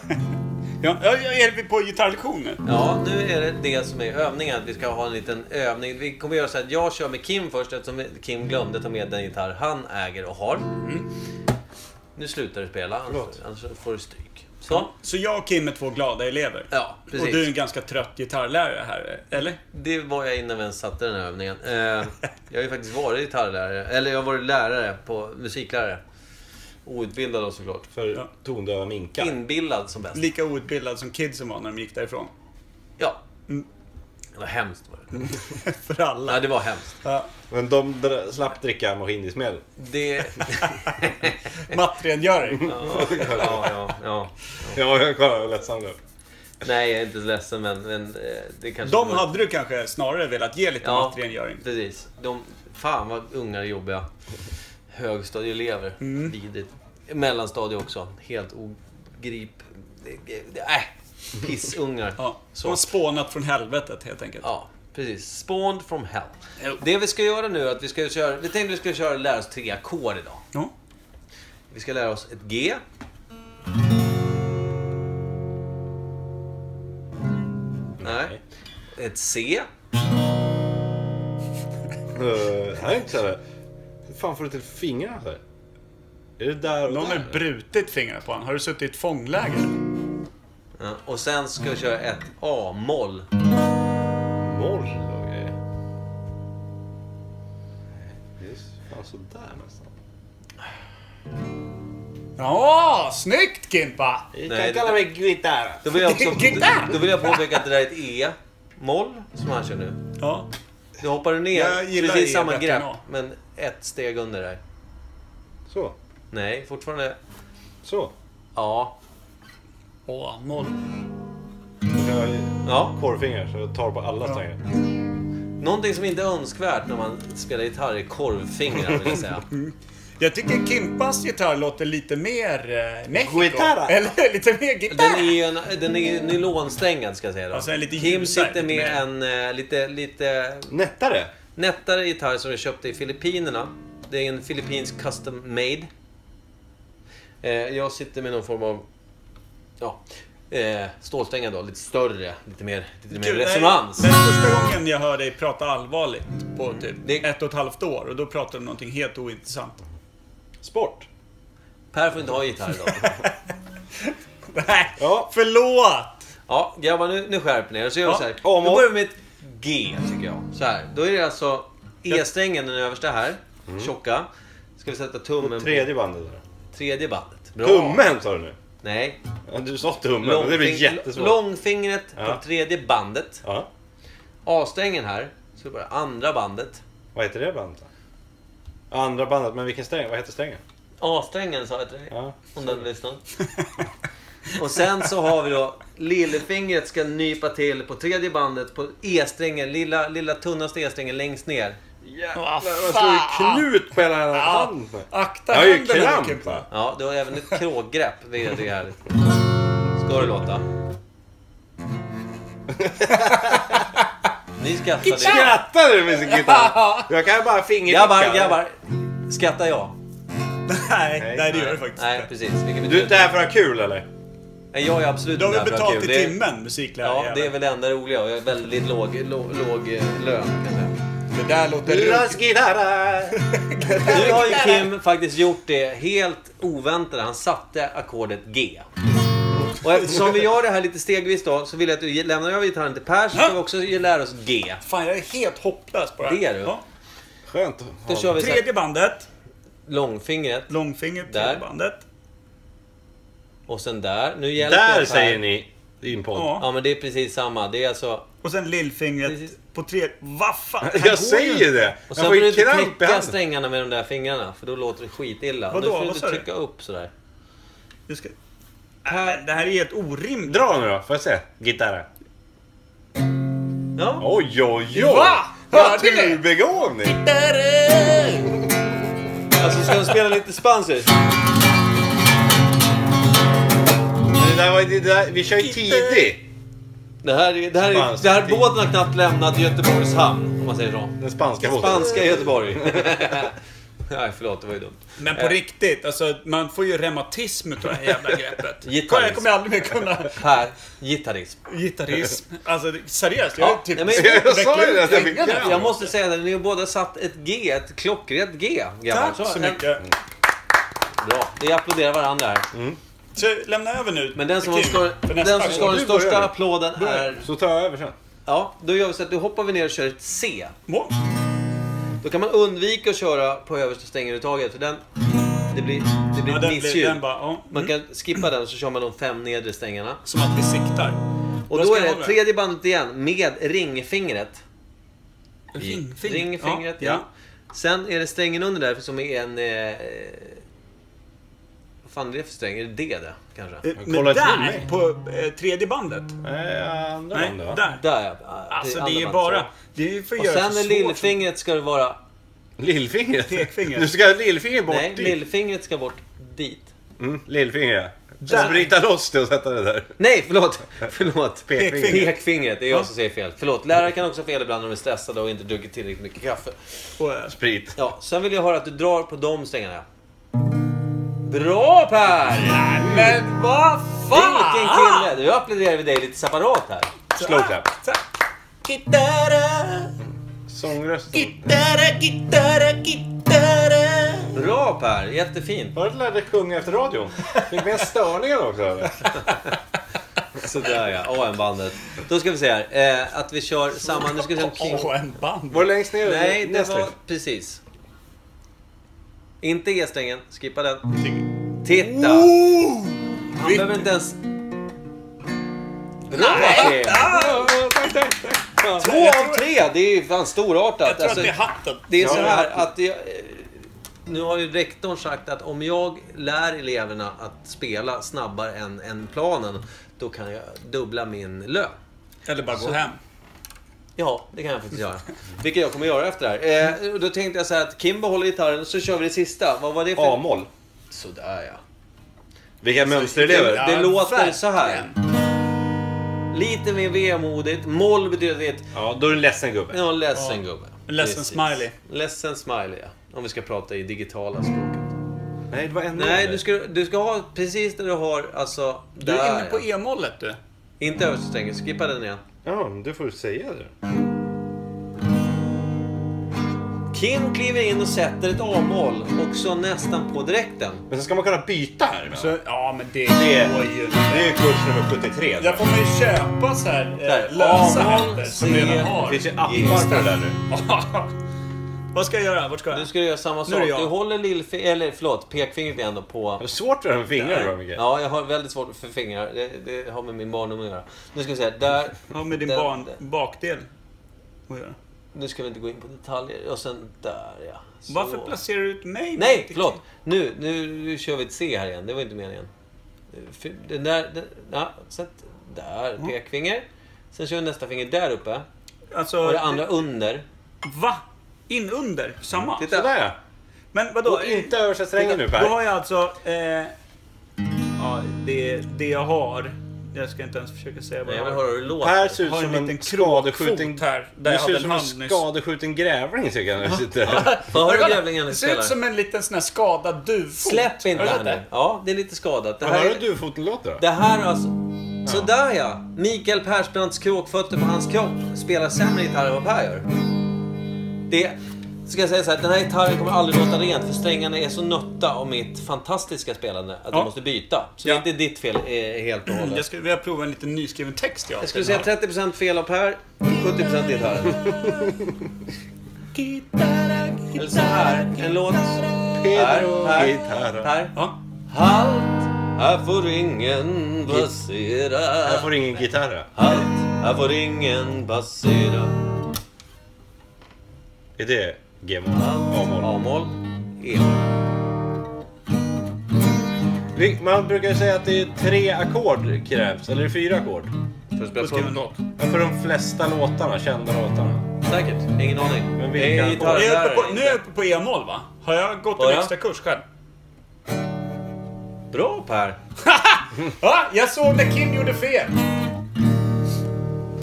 Ja, ja, ja, är vi på gitarrlektion nu?
Ja, nu är det det som är övningen. Att vi ska ha en liten övning. Vi kommer göra så att jag kör med Kim först eftersom Kim glömde ta med den gitarr han äger och har. Nu slutar du spela, annars, annars får du stryk. Så.
Så jag och Kim är två glada elever.
Ja,
Och du är en
precis.
ganska trött gitarrlärare här, eller?
Det var jag innan vi ens satte den här övningen. Eh, jag har ju faktiskt varit gitarrlärare, eller jag har varit lärare, på, musiklärare. Outbildad då såklart.
För
Ja.
tondöva minkar.
Inbillad som bäst.
Lika outbildad som kidsen var när de gick därifrån. (laughs)
Ja.
Mm.
Det var hemskt var det.
För alla.
Ja, det var hemskt.
Men de dr- slapp dricka mojinismedel.
Det...
(laughs) Mattrengöring.
Ja, ja, ja. ja.
Ja, jag kollar hur lättsam du är.
Nej, jag är inte så ledsen, men, men eh, det kanske...
De
var-
hade du kanske snarare velat ge lite
ja,
mattrengöring.
precis. De, fan vad ungar är jobbiga. Högstadieelever. Vidrigt. Mellanstadie också. Helt ogrip... Äh, pissungar.
Ja,
Så.
de har spånat från helvetet helt enkelt.
Ja, precis. Spawned from hell. Det vi ska göra nu är att vi ska köra... Vi tänkte vi ska köra lära oss tre ackord idag.
Ja.
Vi ska lära oss ett G. Nej. Ett C.
Uh, här är inte så här. Hur fan får du till fingrarna så här? Är det där och
Någon
där?
har brutit fingrarna på honom. Har du suttit i ett
Mm.
fångläger?
Ja, Och sen ska jag köra ett A-moll.
Moll och grejer. Det är fan sådär nästan.
Ja, snyggt Kimpa!
Du kan
Nej,
kalla mig gitarr.
Då vill jag, också,
Gitarr!
då vill jag påpeka att det där är ett E-moll som han kör nu.
Ja.
Nu hoppar du ner
Jag gillar
precis
E
samma
bättre
grepp,
än A.
men ett steg under där.
Så.
Nej, fortfarande
Så.
A.
Åh, noll.
Då kan jag
Ja.
korvfingrar så jag tar på alla strängar.
Någonting som inte är önskvärt när man spelar gitarr är korvfingrar, vill jag säga.
Jag tycker Kimpas gitarr låter lite mer eh, Mexiko.
Guitarra.
(laughs) Eller lite mer
Den är
gitarr.
ju en, den är ju nylonstängad, ska jag säga då.
Alltså en lite
Kim
ljusare,
sitter
lite
med en eh, lite, lite
Nättare.
nättare gitarr som jag köpte i Filippinerna. Det är en filippinsk custom made. Eh, jag sitter med någon form av ja, eh, stålstänga då, lite större, lite mer, lite mer
Gud, nej,
resonans. Mm.
Det är första gången jag hör dig prata allvarligt på typ
Det-
ett och ett halvt år och då pratar du om någonting helt ointressant. (laughs)
Sport.
Per får inte ha gitarr idag.
Nej,
Ja.
förlåt!
Ja, grabbar nu, nu skärper ni er. Så gör vi
Ja,
så här.
om
Då
och-
börjar vi med ett G tycker jag. Så här. Då är det alltså E-strängen, den översta här.
Mm.
Tjocka. Ska vi sätta tummen på
Tredje bandet. där.
tredje bandet. Bra.
Tummen sa du nu.
Nej.
Ja, du sa tummen. men det blir
Långfing-
jättesvårt.
Långfingret
Ja.
på tredje bandet.
Ja.
A-strängen här. Så det är bara andra bandet.
Vad heter det bandet då? Andra bandet, men vilken sträng? Vad heter strängen?
A-strängen sa jag till dig.
Ja.
Om du hade lyssnat. Och sen så har vi då lillfingret ska nypa till på tredje bandet på E-strängen. Lilla, lilla tunnaste E-strängen längst ner.
Vad
Man slår ju knut på hela den här
Ja,
handen.
akta
Jag har ju
händerna nu
kramp.
Kimpa.
Ja, du har även ett kråkgrepp. Det är det är härligt. Ska det låta. Ni skrattar. det.
Skrattar du med sin gitarr? Jag kan bara fingerdicka.
Grabbar, grabbar. Skrattar jag?
Nej, nej, det gör
nej.
du faktiskt
Nej,
inte.
precis. Vilket
Du är inte
betyder...
här för att ha kul eller?
Nej, jag är absolut
Du har
inte
väl
där för att ha
betalt i
kul. Det är-
timmen, musiklärare?
Ja, det är väl det enda roliga. Jag är väldigt låg, låg, låg eh, lön kan jag säga.
det där låter... runt.
Nu har ju Kim faktiskt gjort det helt oväntat. Han satte ackordet G. Och eftersom vi gör det här lite stegvis då, så vill jag att du lämnar över gitarren till Per, så ska vi också lära oss G.
Fan, jag är helt hopplös på det här.
Det är du.
Ja.
Skönt.
Då kör vi så här,
Tredje bandet.
långfingret
Långfingret,
Där.
tredje bandet.
och sen där. Nu hjälper jag
Där
Per.
säger ni i din podd.
Ja.
Ja, men det är precis samma. Det är alltså...
Och sen lillfingret
Precis.
på tredje... Vad fan? Han går
Jag
ju
säger
inte.
det!
Och
Jag
sen får
får
du
ju
inte
kramp i
knäcka
handen.
strängarna med de där fingrarna, för då låter det skitilla.
Vadå?
Nu får
Vad
du
sa
inte
du?
trycka upp sådär.
Du ska... Äh, det här är ett orimligt...
Dra nu då, får jag se? Gitarren.
Ja.
Oj, oj, oj!
Va? Hörde ni?
Naturbegåvning!
Alltså, ska du spela lite spanskt?
Det där var, det där, vi kör ju tidigt.
Det här, är- det här, är-
Spansk
det här
tid.
båten har knappt lämnat Göteborgs hamn, om man säger så.
Den spanska båten.
Spanska Göteborg. (laughs) Nej, förlåt, det var ju dumt.
Men på riktigt, alltså man får ju reumatism utav det här jävla greppet.
(laughs) Gitarrism.
Jag kommer aldrig mer kunna
Per, gitarrism.
gitarrism. Alltså det- seriöst, jag
Ja,
är typ...
nej, men- (laughs)
Jag sa ju det! att jag fick
Ja.
Jag måste säga att ni har båda satt ett G, ett klockrent G. grabbar.
Tack så
en-
mycket. Mm.
Bra, vi applåderar varandra här.
Så lämna över nu.
Men den som
till Kim
ska,
för nästa
den som ska ha
gång.
den
Du börjar
största
nu.
applåden är...
Så tar jag över sen.
Ja, då gör vi så att då hoppar vi ner och kör ett C.
Må-
Då kan man undvika att köra på översta stängeruttaget, för den... Det blir, det blir
Ja,
ett
den, blir-
missljud.
den bara, Mm. ja.
Man kan skippa den så kör man de fem nedre stängerna.
Som att vi siktar.
Och
Vad
då
ska
är
jag
det
ha med?
tredje bandet igen med ringfingret.
Ringfing-
Ringfingret, ja. Sen är det strängen under där som är en... Eh, vad fan är det för sträng? Är det D det? Kanske?
Eh, Men
Kolla till
där,
mig.
på eh, tredje bandet.
Nej, andra
Nej,
bandet, va?
där.
Där ja. Ah,
Alltså det är
andra
ju
bandet,
bara...
så.
Det är ju för att
Och
göra
sen
så
är
svårt
lillfingret ska det vara...
Lillfingret.
Pekfingret.
Nu ska lillfingret bort
Nej,
dit.
lillfingret ska bort dit.
Mm, lillfingret.
Där.
Sen bryta loss det och sätta det där.
Nej,
(laughs)
förlåt! Förlåt.
Pekfingret.
Pekfingret, det är jag som säger fel. Förlåt, lärare kan också ha fel ibland när de är stressade och inte druckit tillräckligt mycket kaffe.
som- och, eh,
Sprit.
Ja, sen vill jag höra att du drar på de strängarna. Bra Per!
Men vad
Vilken
fan!
kille! Nu applåderar vi dig lite separat här.
Slow clap.
Tack.
Sångrösten.
Bra Per, jättefint.
Var det lärde sjunga efter radion? Fick med störningar också eller?
Sådär ja, AM-bandet. Då ska vi se här, eh, att vi kör samma... Nu ska vi se om King...
Åh, en band.
Var det längst ner?
Nej, det
Näst
var...
längst?
Precis. Inte E-strängen, skippa den. Titta! Han behöver inte ens... Bra Kim! Två av tre! Det är ju fan storartat.
Jag tror att
Alltså-
det är hatten.
Det är så här att jag, eh, nu har ju rektorn sagt att om jag lär eleverna att spela snabbare än, än planen, då kan jag dubbla min lön.
Eller bara gå hem.
Ja, det kan jag faktiskt göra. (laughs) Vilket jag kommer göra efter det här. Eh, och då tänkte jag så här att Kim behåller gitarren och så kör vi det sista. Vad var det för...
A-moll.
Sådär ja.
Vilka mönsterelever.
Det
Ja,
låter
verkligen.
så här. Lite mer vemodigt. Moll betyder att det är ett...
Ja, då är du en ledsen gubbe.
Ja, ledsen gubbe.
Ledsen smiley.
Ledsen smiley, ja. Om vi ska prata i digitala språket.
Nej, det var en
Nej, du ska, du ska ha precis där du har, alltså...
Du
Där,
är inne på
ja.
e-mollet du.
Inte översta strängen, skippa den igen.
Ja, men du får säga det.
Kim kliver in och sätter ett A-moll, också nästan på direkten.
Men sen ska man kunna byta här. men.
Så, ja men det
Det-
går ju inte.
Det är kurs nummer 73.
Där får man ju köpa så här
Där.
eh, lösa
A-moll,
händer som
C.
redan
Det
har.
finns ju appar för det där nu.
(laughs) Vad ska jag göra? Vart ska jag?
Nu ska du göra samma sak.
är det jag.
Du håller lillfingret, eller förlåt, pekfingret igen då på...
Det är svårt för det här med fingrar tror jag, Micke.
Ja, jag har väldigt svårt för fingrar. Det, det har med min barndom att göra. Nu ska vi se, där...
Ja, med din
där-
barn, bakdel. Vad gör jag?
Nu ska vi inte gå in på detaljer. Och sen där, ja. Så.
Varför placerar du ut mig?
Nej, förlåt. Nu, nu, nu kör vi ett C här igen. Det var inte meningen. Fy- Den där... Den, ja, sätt där. Pekfinger. Sen kör vi nästa finger där uppe.
Alltså,
Och det andra under.
va? In under? Samma?
Titta.
Sådär ja.
Men vadå?
Och inte översta strängen nu
Då
Per.
har jag alltså... Eh, ja, det, det jag har Jag ska inte ens försöka säga vad
Nej,
jag
jag vill
har.
höra hur det låter.
Per ser ut
Har en
som en
liten
skadeskjuten...
krokfot här,
Du
där jag
ser
hade
ut som
en
en
hand nyss.
skadeskjuten grävling tycker jag när du sitter här.
Vad har du grävlingen
Det ser ut som en liten sån här skadad duvfot.
Släpp
Har
inte
du sett
han nu.
det?
Ja, det är lite skadat. Det här,
Hör
är-
du hur foten låter då?
det här är alltså... Sådär ja! Mikael Persbrandts kråkfötter på hans kropp spelar sämre gitarr än vad Per gör. Det... Ska jag säga så här, den här gitarren kommer aldrig låta rent för strängarna är så nötta av mitt fantastiska spelande att
Ja.
jag måste byta. Så
Ja.
det är inte ditt fel eh, helt och hållet.
Jag skulle vilja prova en liten nyskriven text jag har
Jag skulle
till
säga
den här.
30% fel av Per,
(laughs)
70% gitarren. Eller så här, en låt. Per, Per, Per.
Ja.
Halt, här får ingen passera.
Här får du ingen gitarr.
Halt, här får ingen passera.
Är det G-moll? A-moll?
A-moll, E.
Vi- Man brukar ju säga att det är tre ackord krävs, eller fyra ackord.
För att spela
Då skriver en
på.
låt.
Men För de flesta låtarna, kända låtarna.
Säkert, ingen aning.
Men vilka
Men vilka
ackord?
Nu är jag
gitarrlärare
uppe på- Nu är jag
inte.
uppe på E-moll va? Har jag gått
Ja,
en
ja.
extra kurs själv?
Bra Per!
Ja, jag såg när Kim gjorde fel.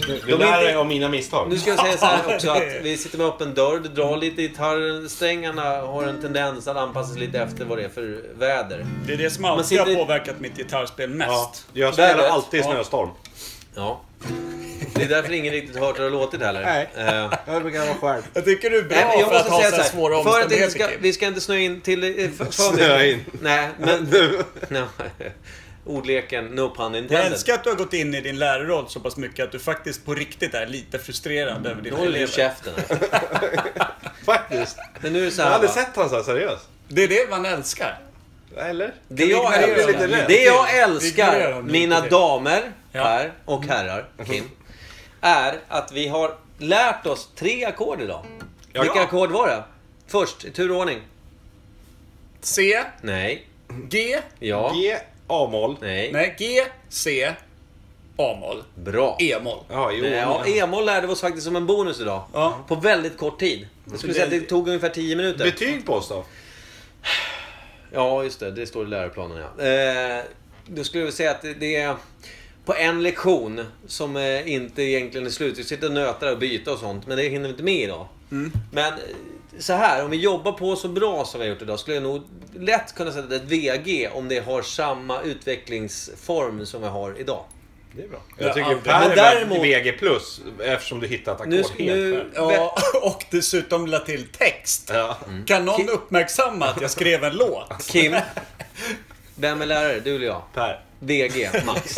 Det
är
där
inte-
är om mina misstag.
Nu ska jag säga så här också att vi sitter med öppen dörr, du drar lite i gitarren, strängarna har en tendens att anpassa sig lite efter vad det är för väder.
Det är det som
Man
alltid
sitter
har
i-
påverkat mitt gitarrspel
Ja,
mest.
jag spelar
Vädret.
alltid i
Ja.
snöstorm.
Ja. Det är därför ingen riktigt hört hur det har låtit heller.
Nej.
Eh,
Jag brukar vara själv.
Jag tycker du är bra
Nej, men jag
för att
måste
ha
säga
så här
så här,
svåra
för att inte
omständigheter
ska,
Kim.
vi ska inte snöa in till eh, för, för
Snöa in.
Nej,
(laughs)
men... Nej, ordleken, no pun
Jag
intended.
älskar att du har gått in i din lärarroll så pass mycket att du faktiskt på riktigt är lite frustrerad över
Nu
dina
håller du
elever.
käften. här.
Faktiskt.
Men nu är det så
Jag har
här,
aldrig
va?
sett han så här seriös.
Det är det man älskar.
Eller?
Det jag,
ignorera
honom
älskar,
lite till?
det jag
Vi ignorerar
älskar,
honom
mina
lite till.
damer
Ja. Mm.
här och herrar,
Mhm.
Kim, är att vi har lärt oss tre ackord idag.
Ja.
Vilka ackord var det? Först, i tur och ordning.
C,
Nej.
G,
Ja.
G, A-moll.
Nej.
nej G, C, A-moll,
Bra.
E-moll.
Ja, jo.
Nej, Ja,
men-
E-moll lärde vi oss faktiskt som en bonus idag.
Ja.
På väldigt kort tid. Jag skulle säga att det tog ungefär 10 minuter.
Betyg på oss då?
ja, just det. Det står i läroplanen, ja. Eh, då skulle jag vilja säga att det- det är på en lektion som eh, inte egentligen är slut. Vi sitter och nötar och byter och sånt, men det hinner vi inte med idag.
Mm.
Men eh, så här, om vi jobbar på så bra som vi har gjort idag skulle jag nog lätt kunna sätta ett VG om det har samma utvecklingsform som vi har idag.
Det är bra.
Ja,
Jag tycker
aldrig.
Per
Men
är
däremot-
däremot... VG plus eftersom du hittat ackord
Nu,
helt
nu,
själv.
Ja, och dessutom la till text.
Ja.
Mm.
Kan någon uppmärksamma att jag skrev en
(laughs)
låt?
Kim, vem är lärare? Du eller jag?
Per.
VG,
(laughs)
max.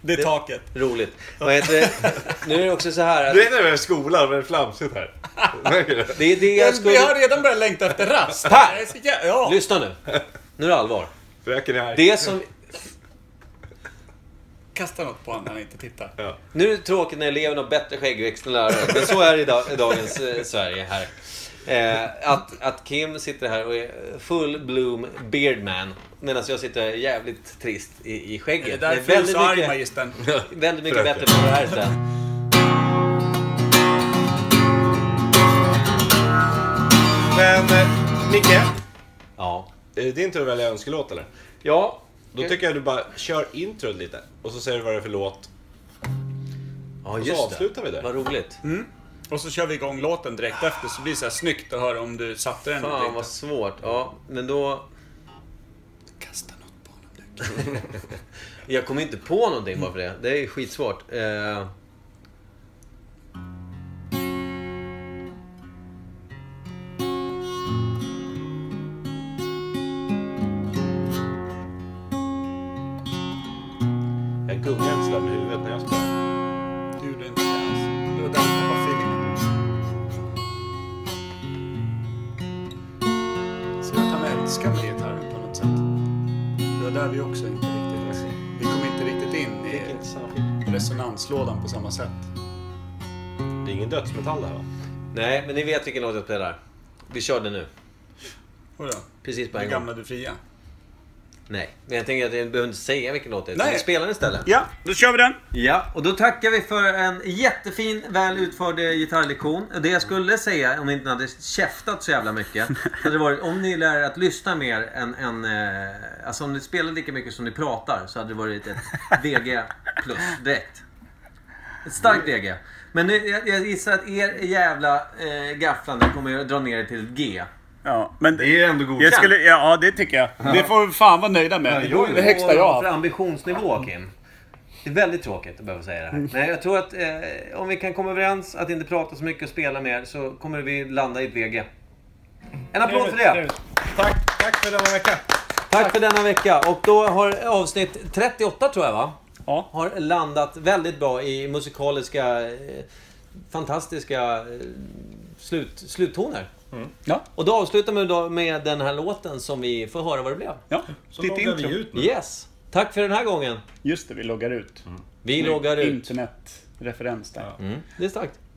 Det är taket.
Roligt. Vad heter det? Nu är det också så här att
Du vet när vi är i skolan, vad det är flamsigt här. Märker du?
det är det jag
Men vi har
skulle...
redan börjat längta efter rast.
Per!
Jag är så jä- Ja.
Lyssna nu. Nu är det allvar.
Fröken är arg.
Det som...
Kasta något på honom när han inte tittar.
Ja.
Nu är det tråkigt när eleven har bättre skäggväxt än läraren. Men så är det i, dag, i dagens eh, Sverige här. Eh, att, att Kim sitter här och är full bloom beardman. Medan jag sitter här jävligt trist i, i skägget.
Det är därför du är så arg, magistern.
väldigt mycket
Fröken.
bättre på det här istället.
Men eh, Micke,
Ja.
är det din tur att välja önskelåt eller?
Ja.
Då tycker jag du bara kör introt lite och så säger du vad det är för låt.
Ja,
så
just det.
avslutar vi där. Mm.
Vad roligt.
Och så kör vi igång låten direkt efter så blir det så här snyggt att höra om du satte den eller
Fan
inte.
vad svårt. Ja, men då...
Kasta något på honom nu.
Jag kommer inte på någonting bara för det. Det är skitsvårt. Eh...
Jag gungar inte sådär med huvudet när jag spelar.
Du gjorde inte det alls. Det var där du tappade feelingen. Ser du att han älskar med gitarren på något sätt? Det var där vi också inte riktigt... Vi kom inte riktigt in i resonanslådan på samma sätt.
Det är ingen dödsmetall det här va?
Nej, men ni vet vilken låt jag spelar. Vi kör den nu.
Hurra.
Precis på
Det
en gång.
gamla du fria.
Nej, men jag tänker att jag behöver inte säga vilken låt det är.
Nej.
Nej. Spela den istället.
Ja, då kör vi den.
Ja, och då tackar vi för en jättefin, väl utförd eh, gitarrlektion. Det jag skulle säga, om ni inte hade käftat så jävla mycket, hade varit om ni lär er att lyssna mer än... än eh, alltså om ni spelar lika mycket som ni pratar så hade det varit ett VG plus direkt. Ett starkt VG. Men nu, jag, jag gissar att er jävla eh, gafflande kommer att dra ner det till ett G.
Ja, men
Det är ju ändå godkänt.
jag skulle, ja, det tycker jag. Det får vi fan vara nöjda med. Det är det högsta jag har
för
haft.
ambitionsnivå, Kim. Det är väldigt tråkigt att behöva säga det
Mm.
här. Men jag tror att eh, om vi kan komma överens att inte prata så mycket och spela mer så kommer vi landa i ett VG. En applåd för det!
Tack, tack för denna vecka.
Tack för denna vecka. Och då har avsnitt 38, tror jag va?
Ja.
Har landat väldigt bra i musikaliska, eh, fantastiska eh, slut, sluttoner.
Mm.
Ja.
Och då avslutar vi då med den här låten som vi får höra vad det blev.
Ja,
Så
ditt
loggar vi
intro.
ut nu.
Yes! Tack för den här gången.
Just det, vi loggar ut.
Vi loggar ut.
Internetreferens där.
Det är starkt.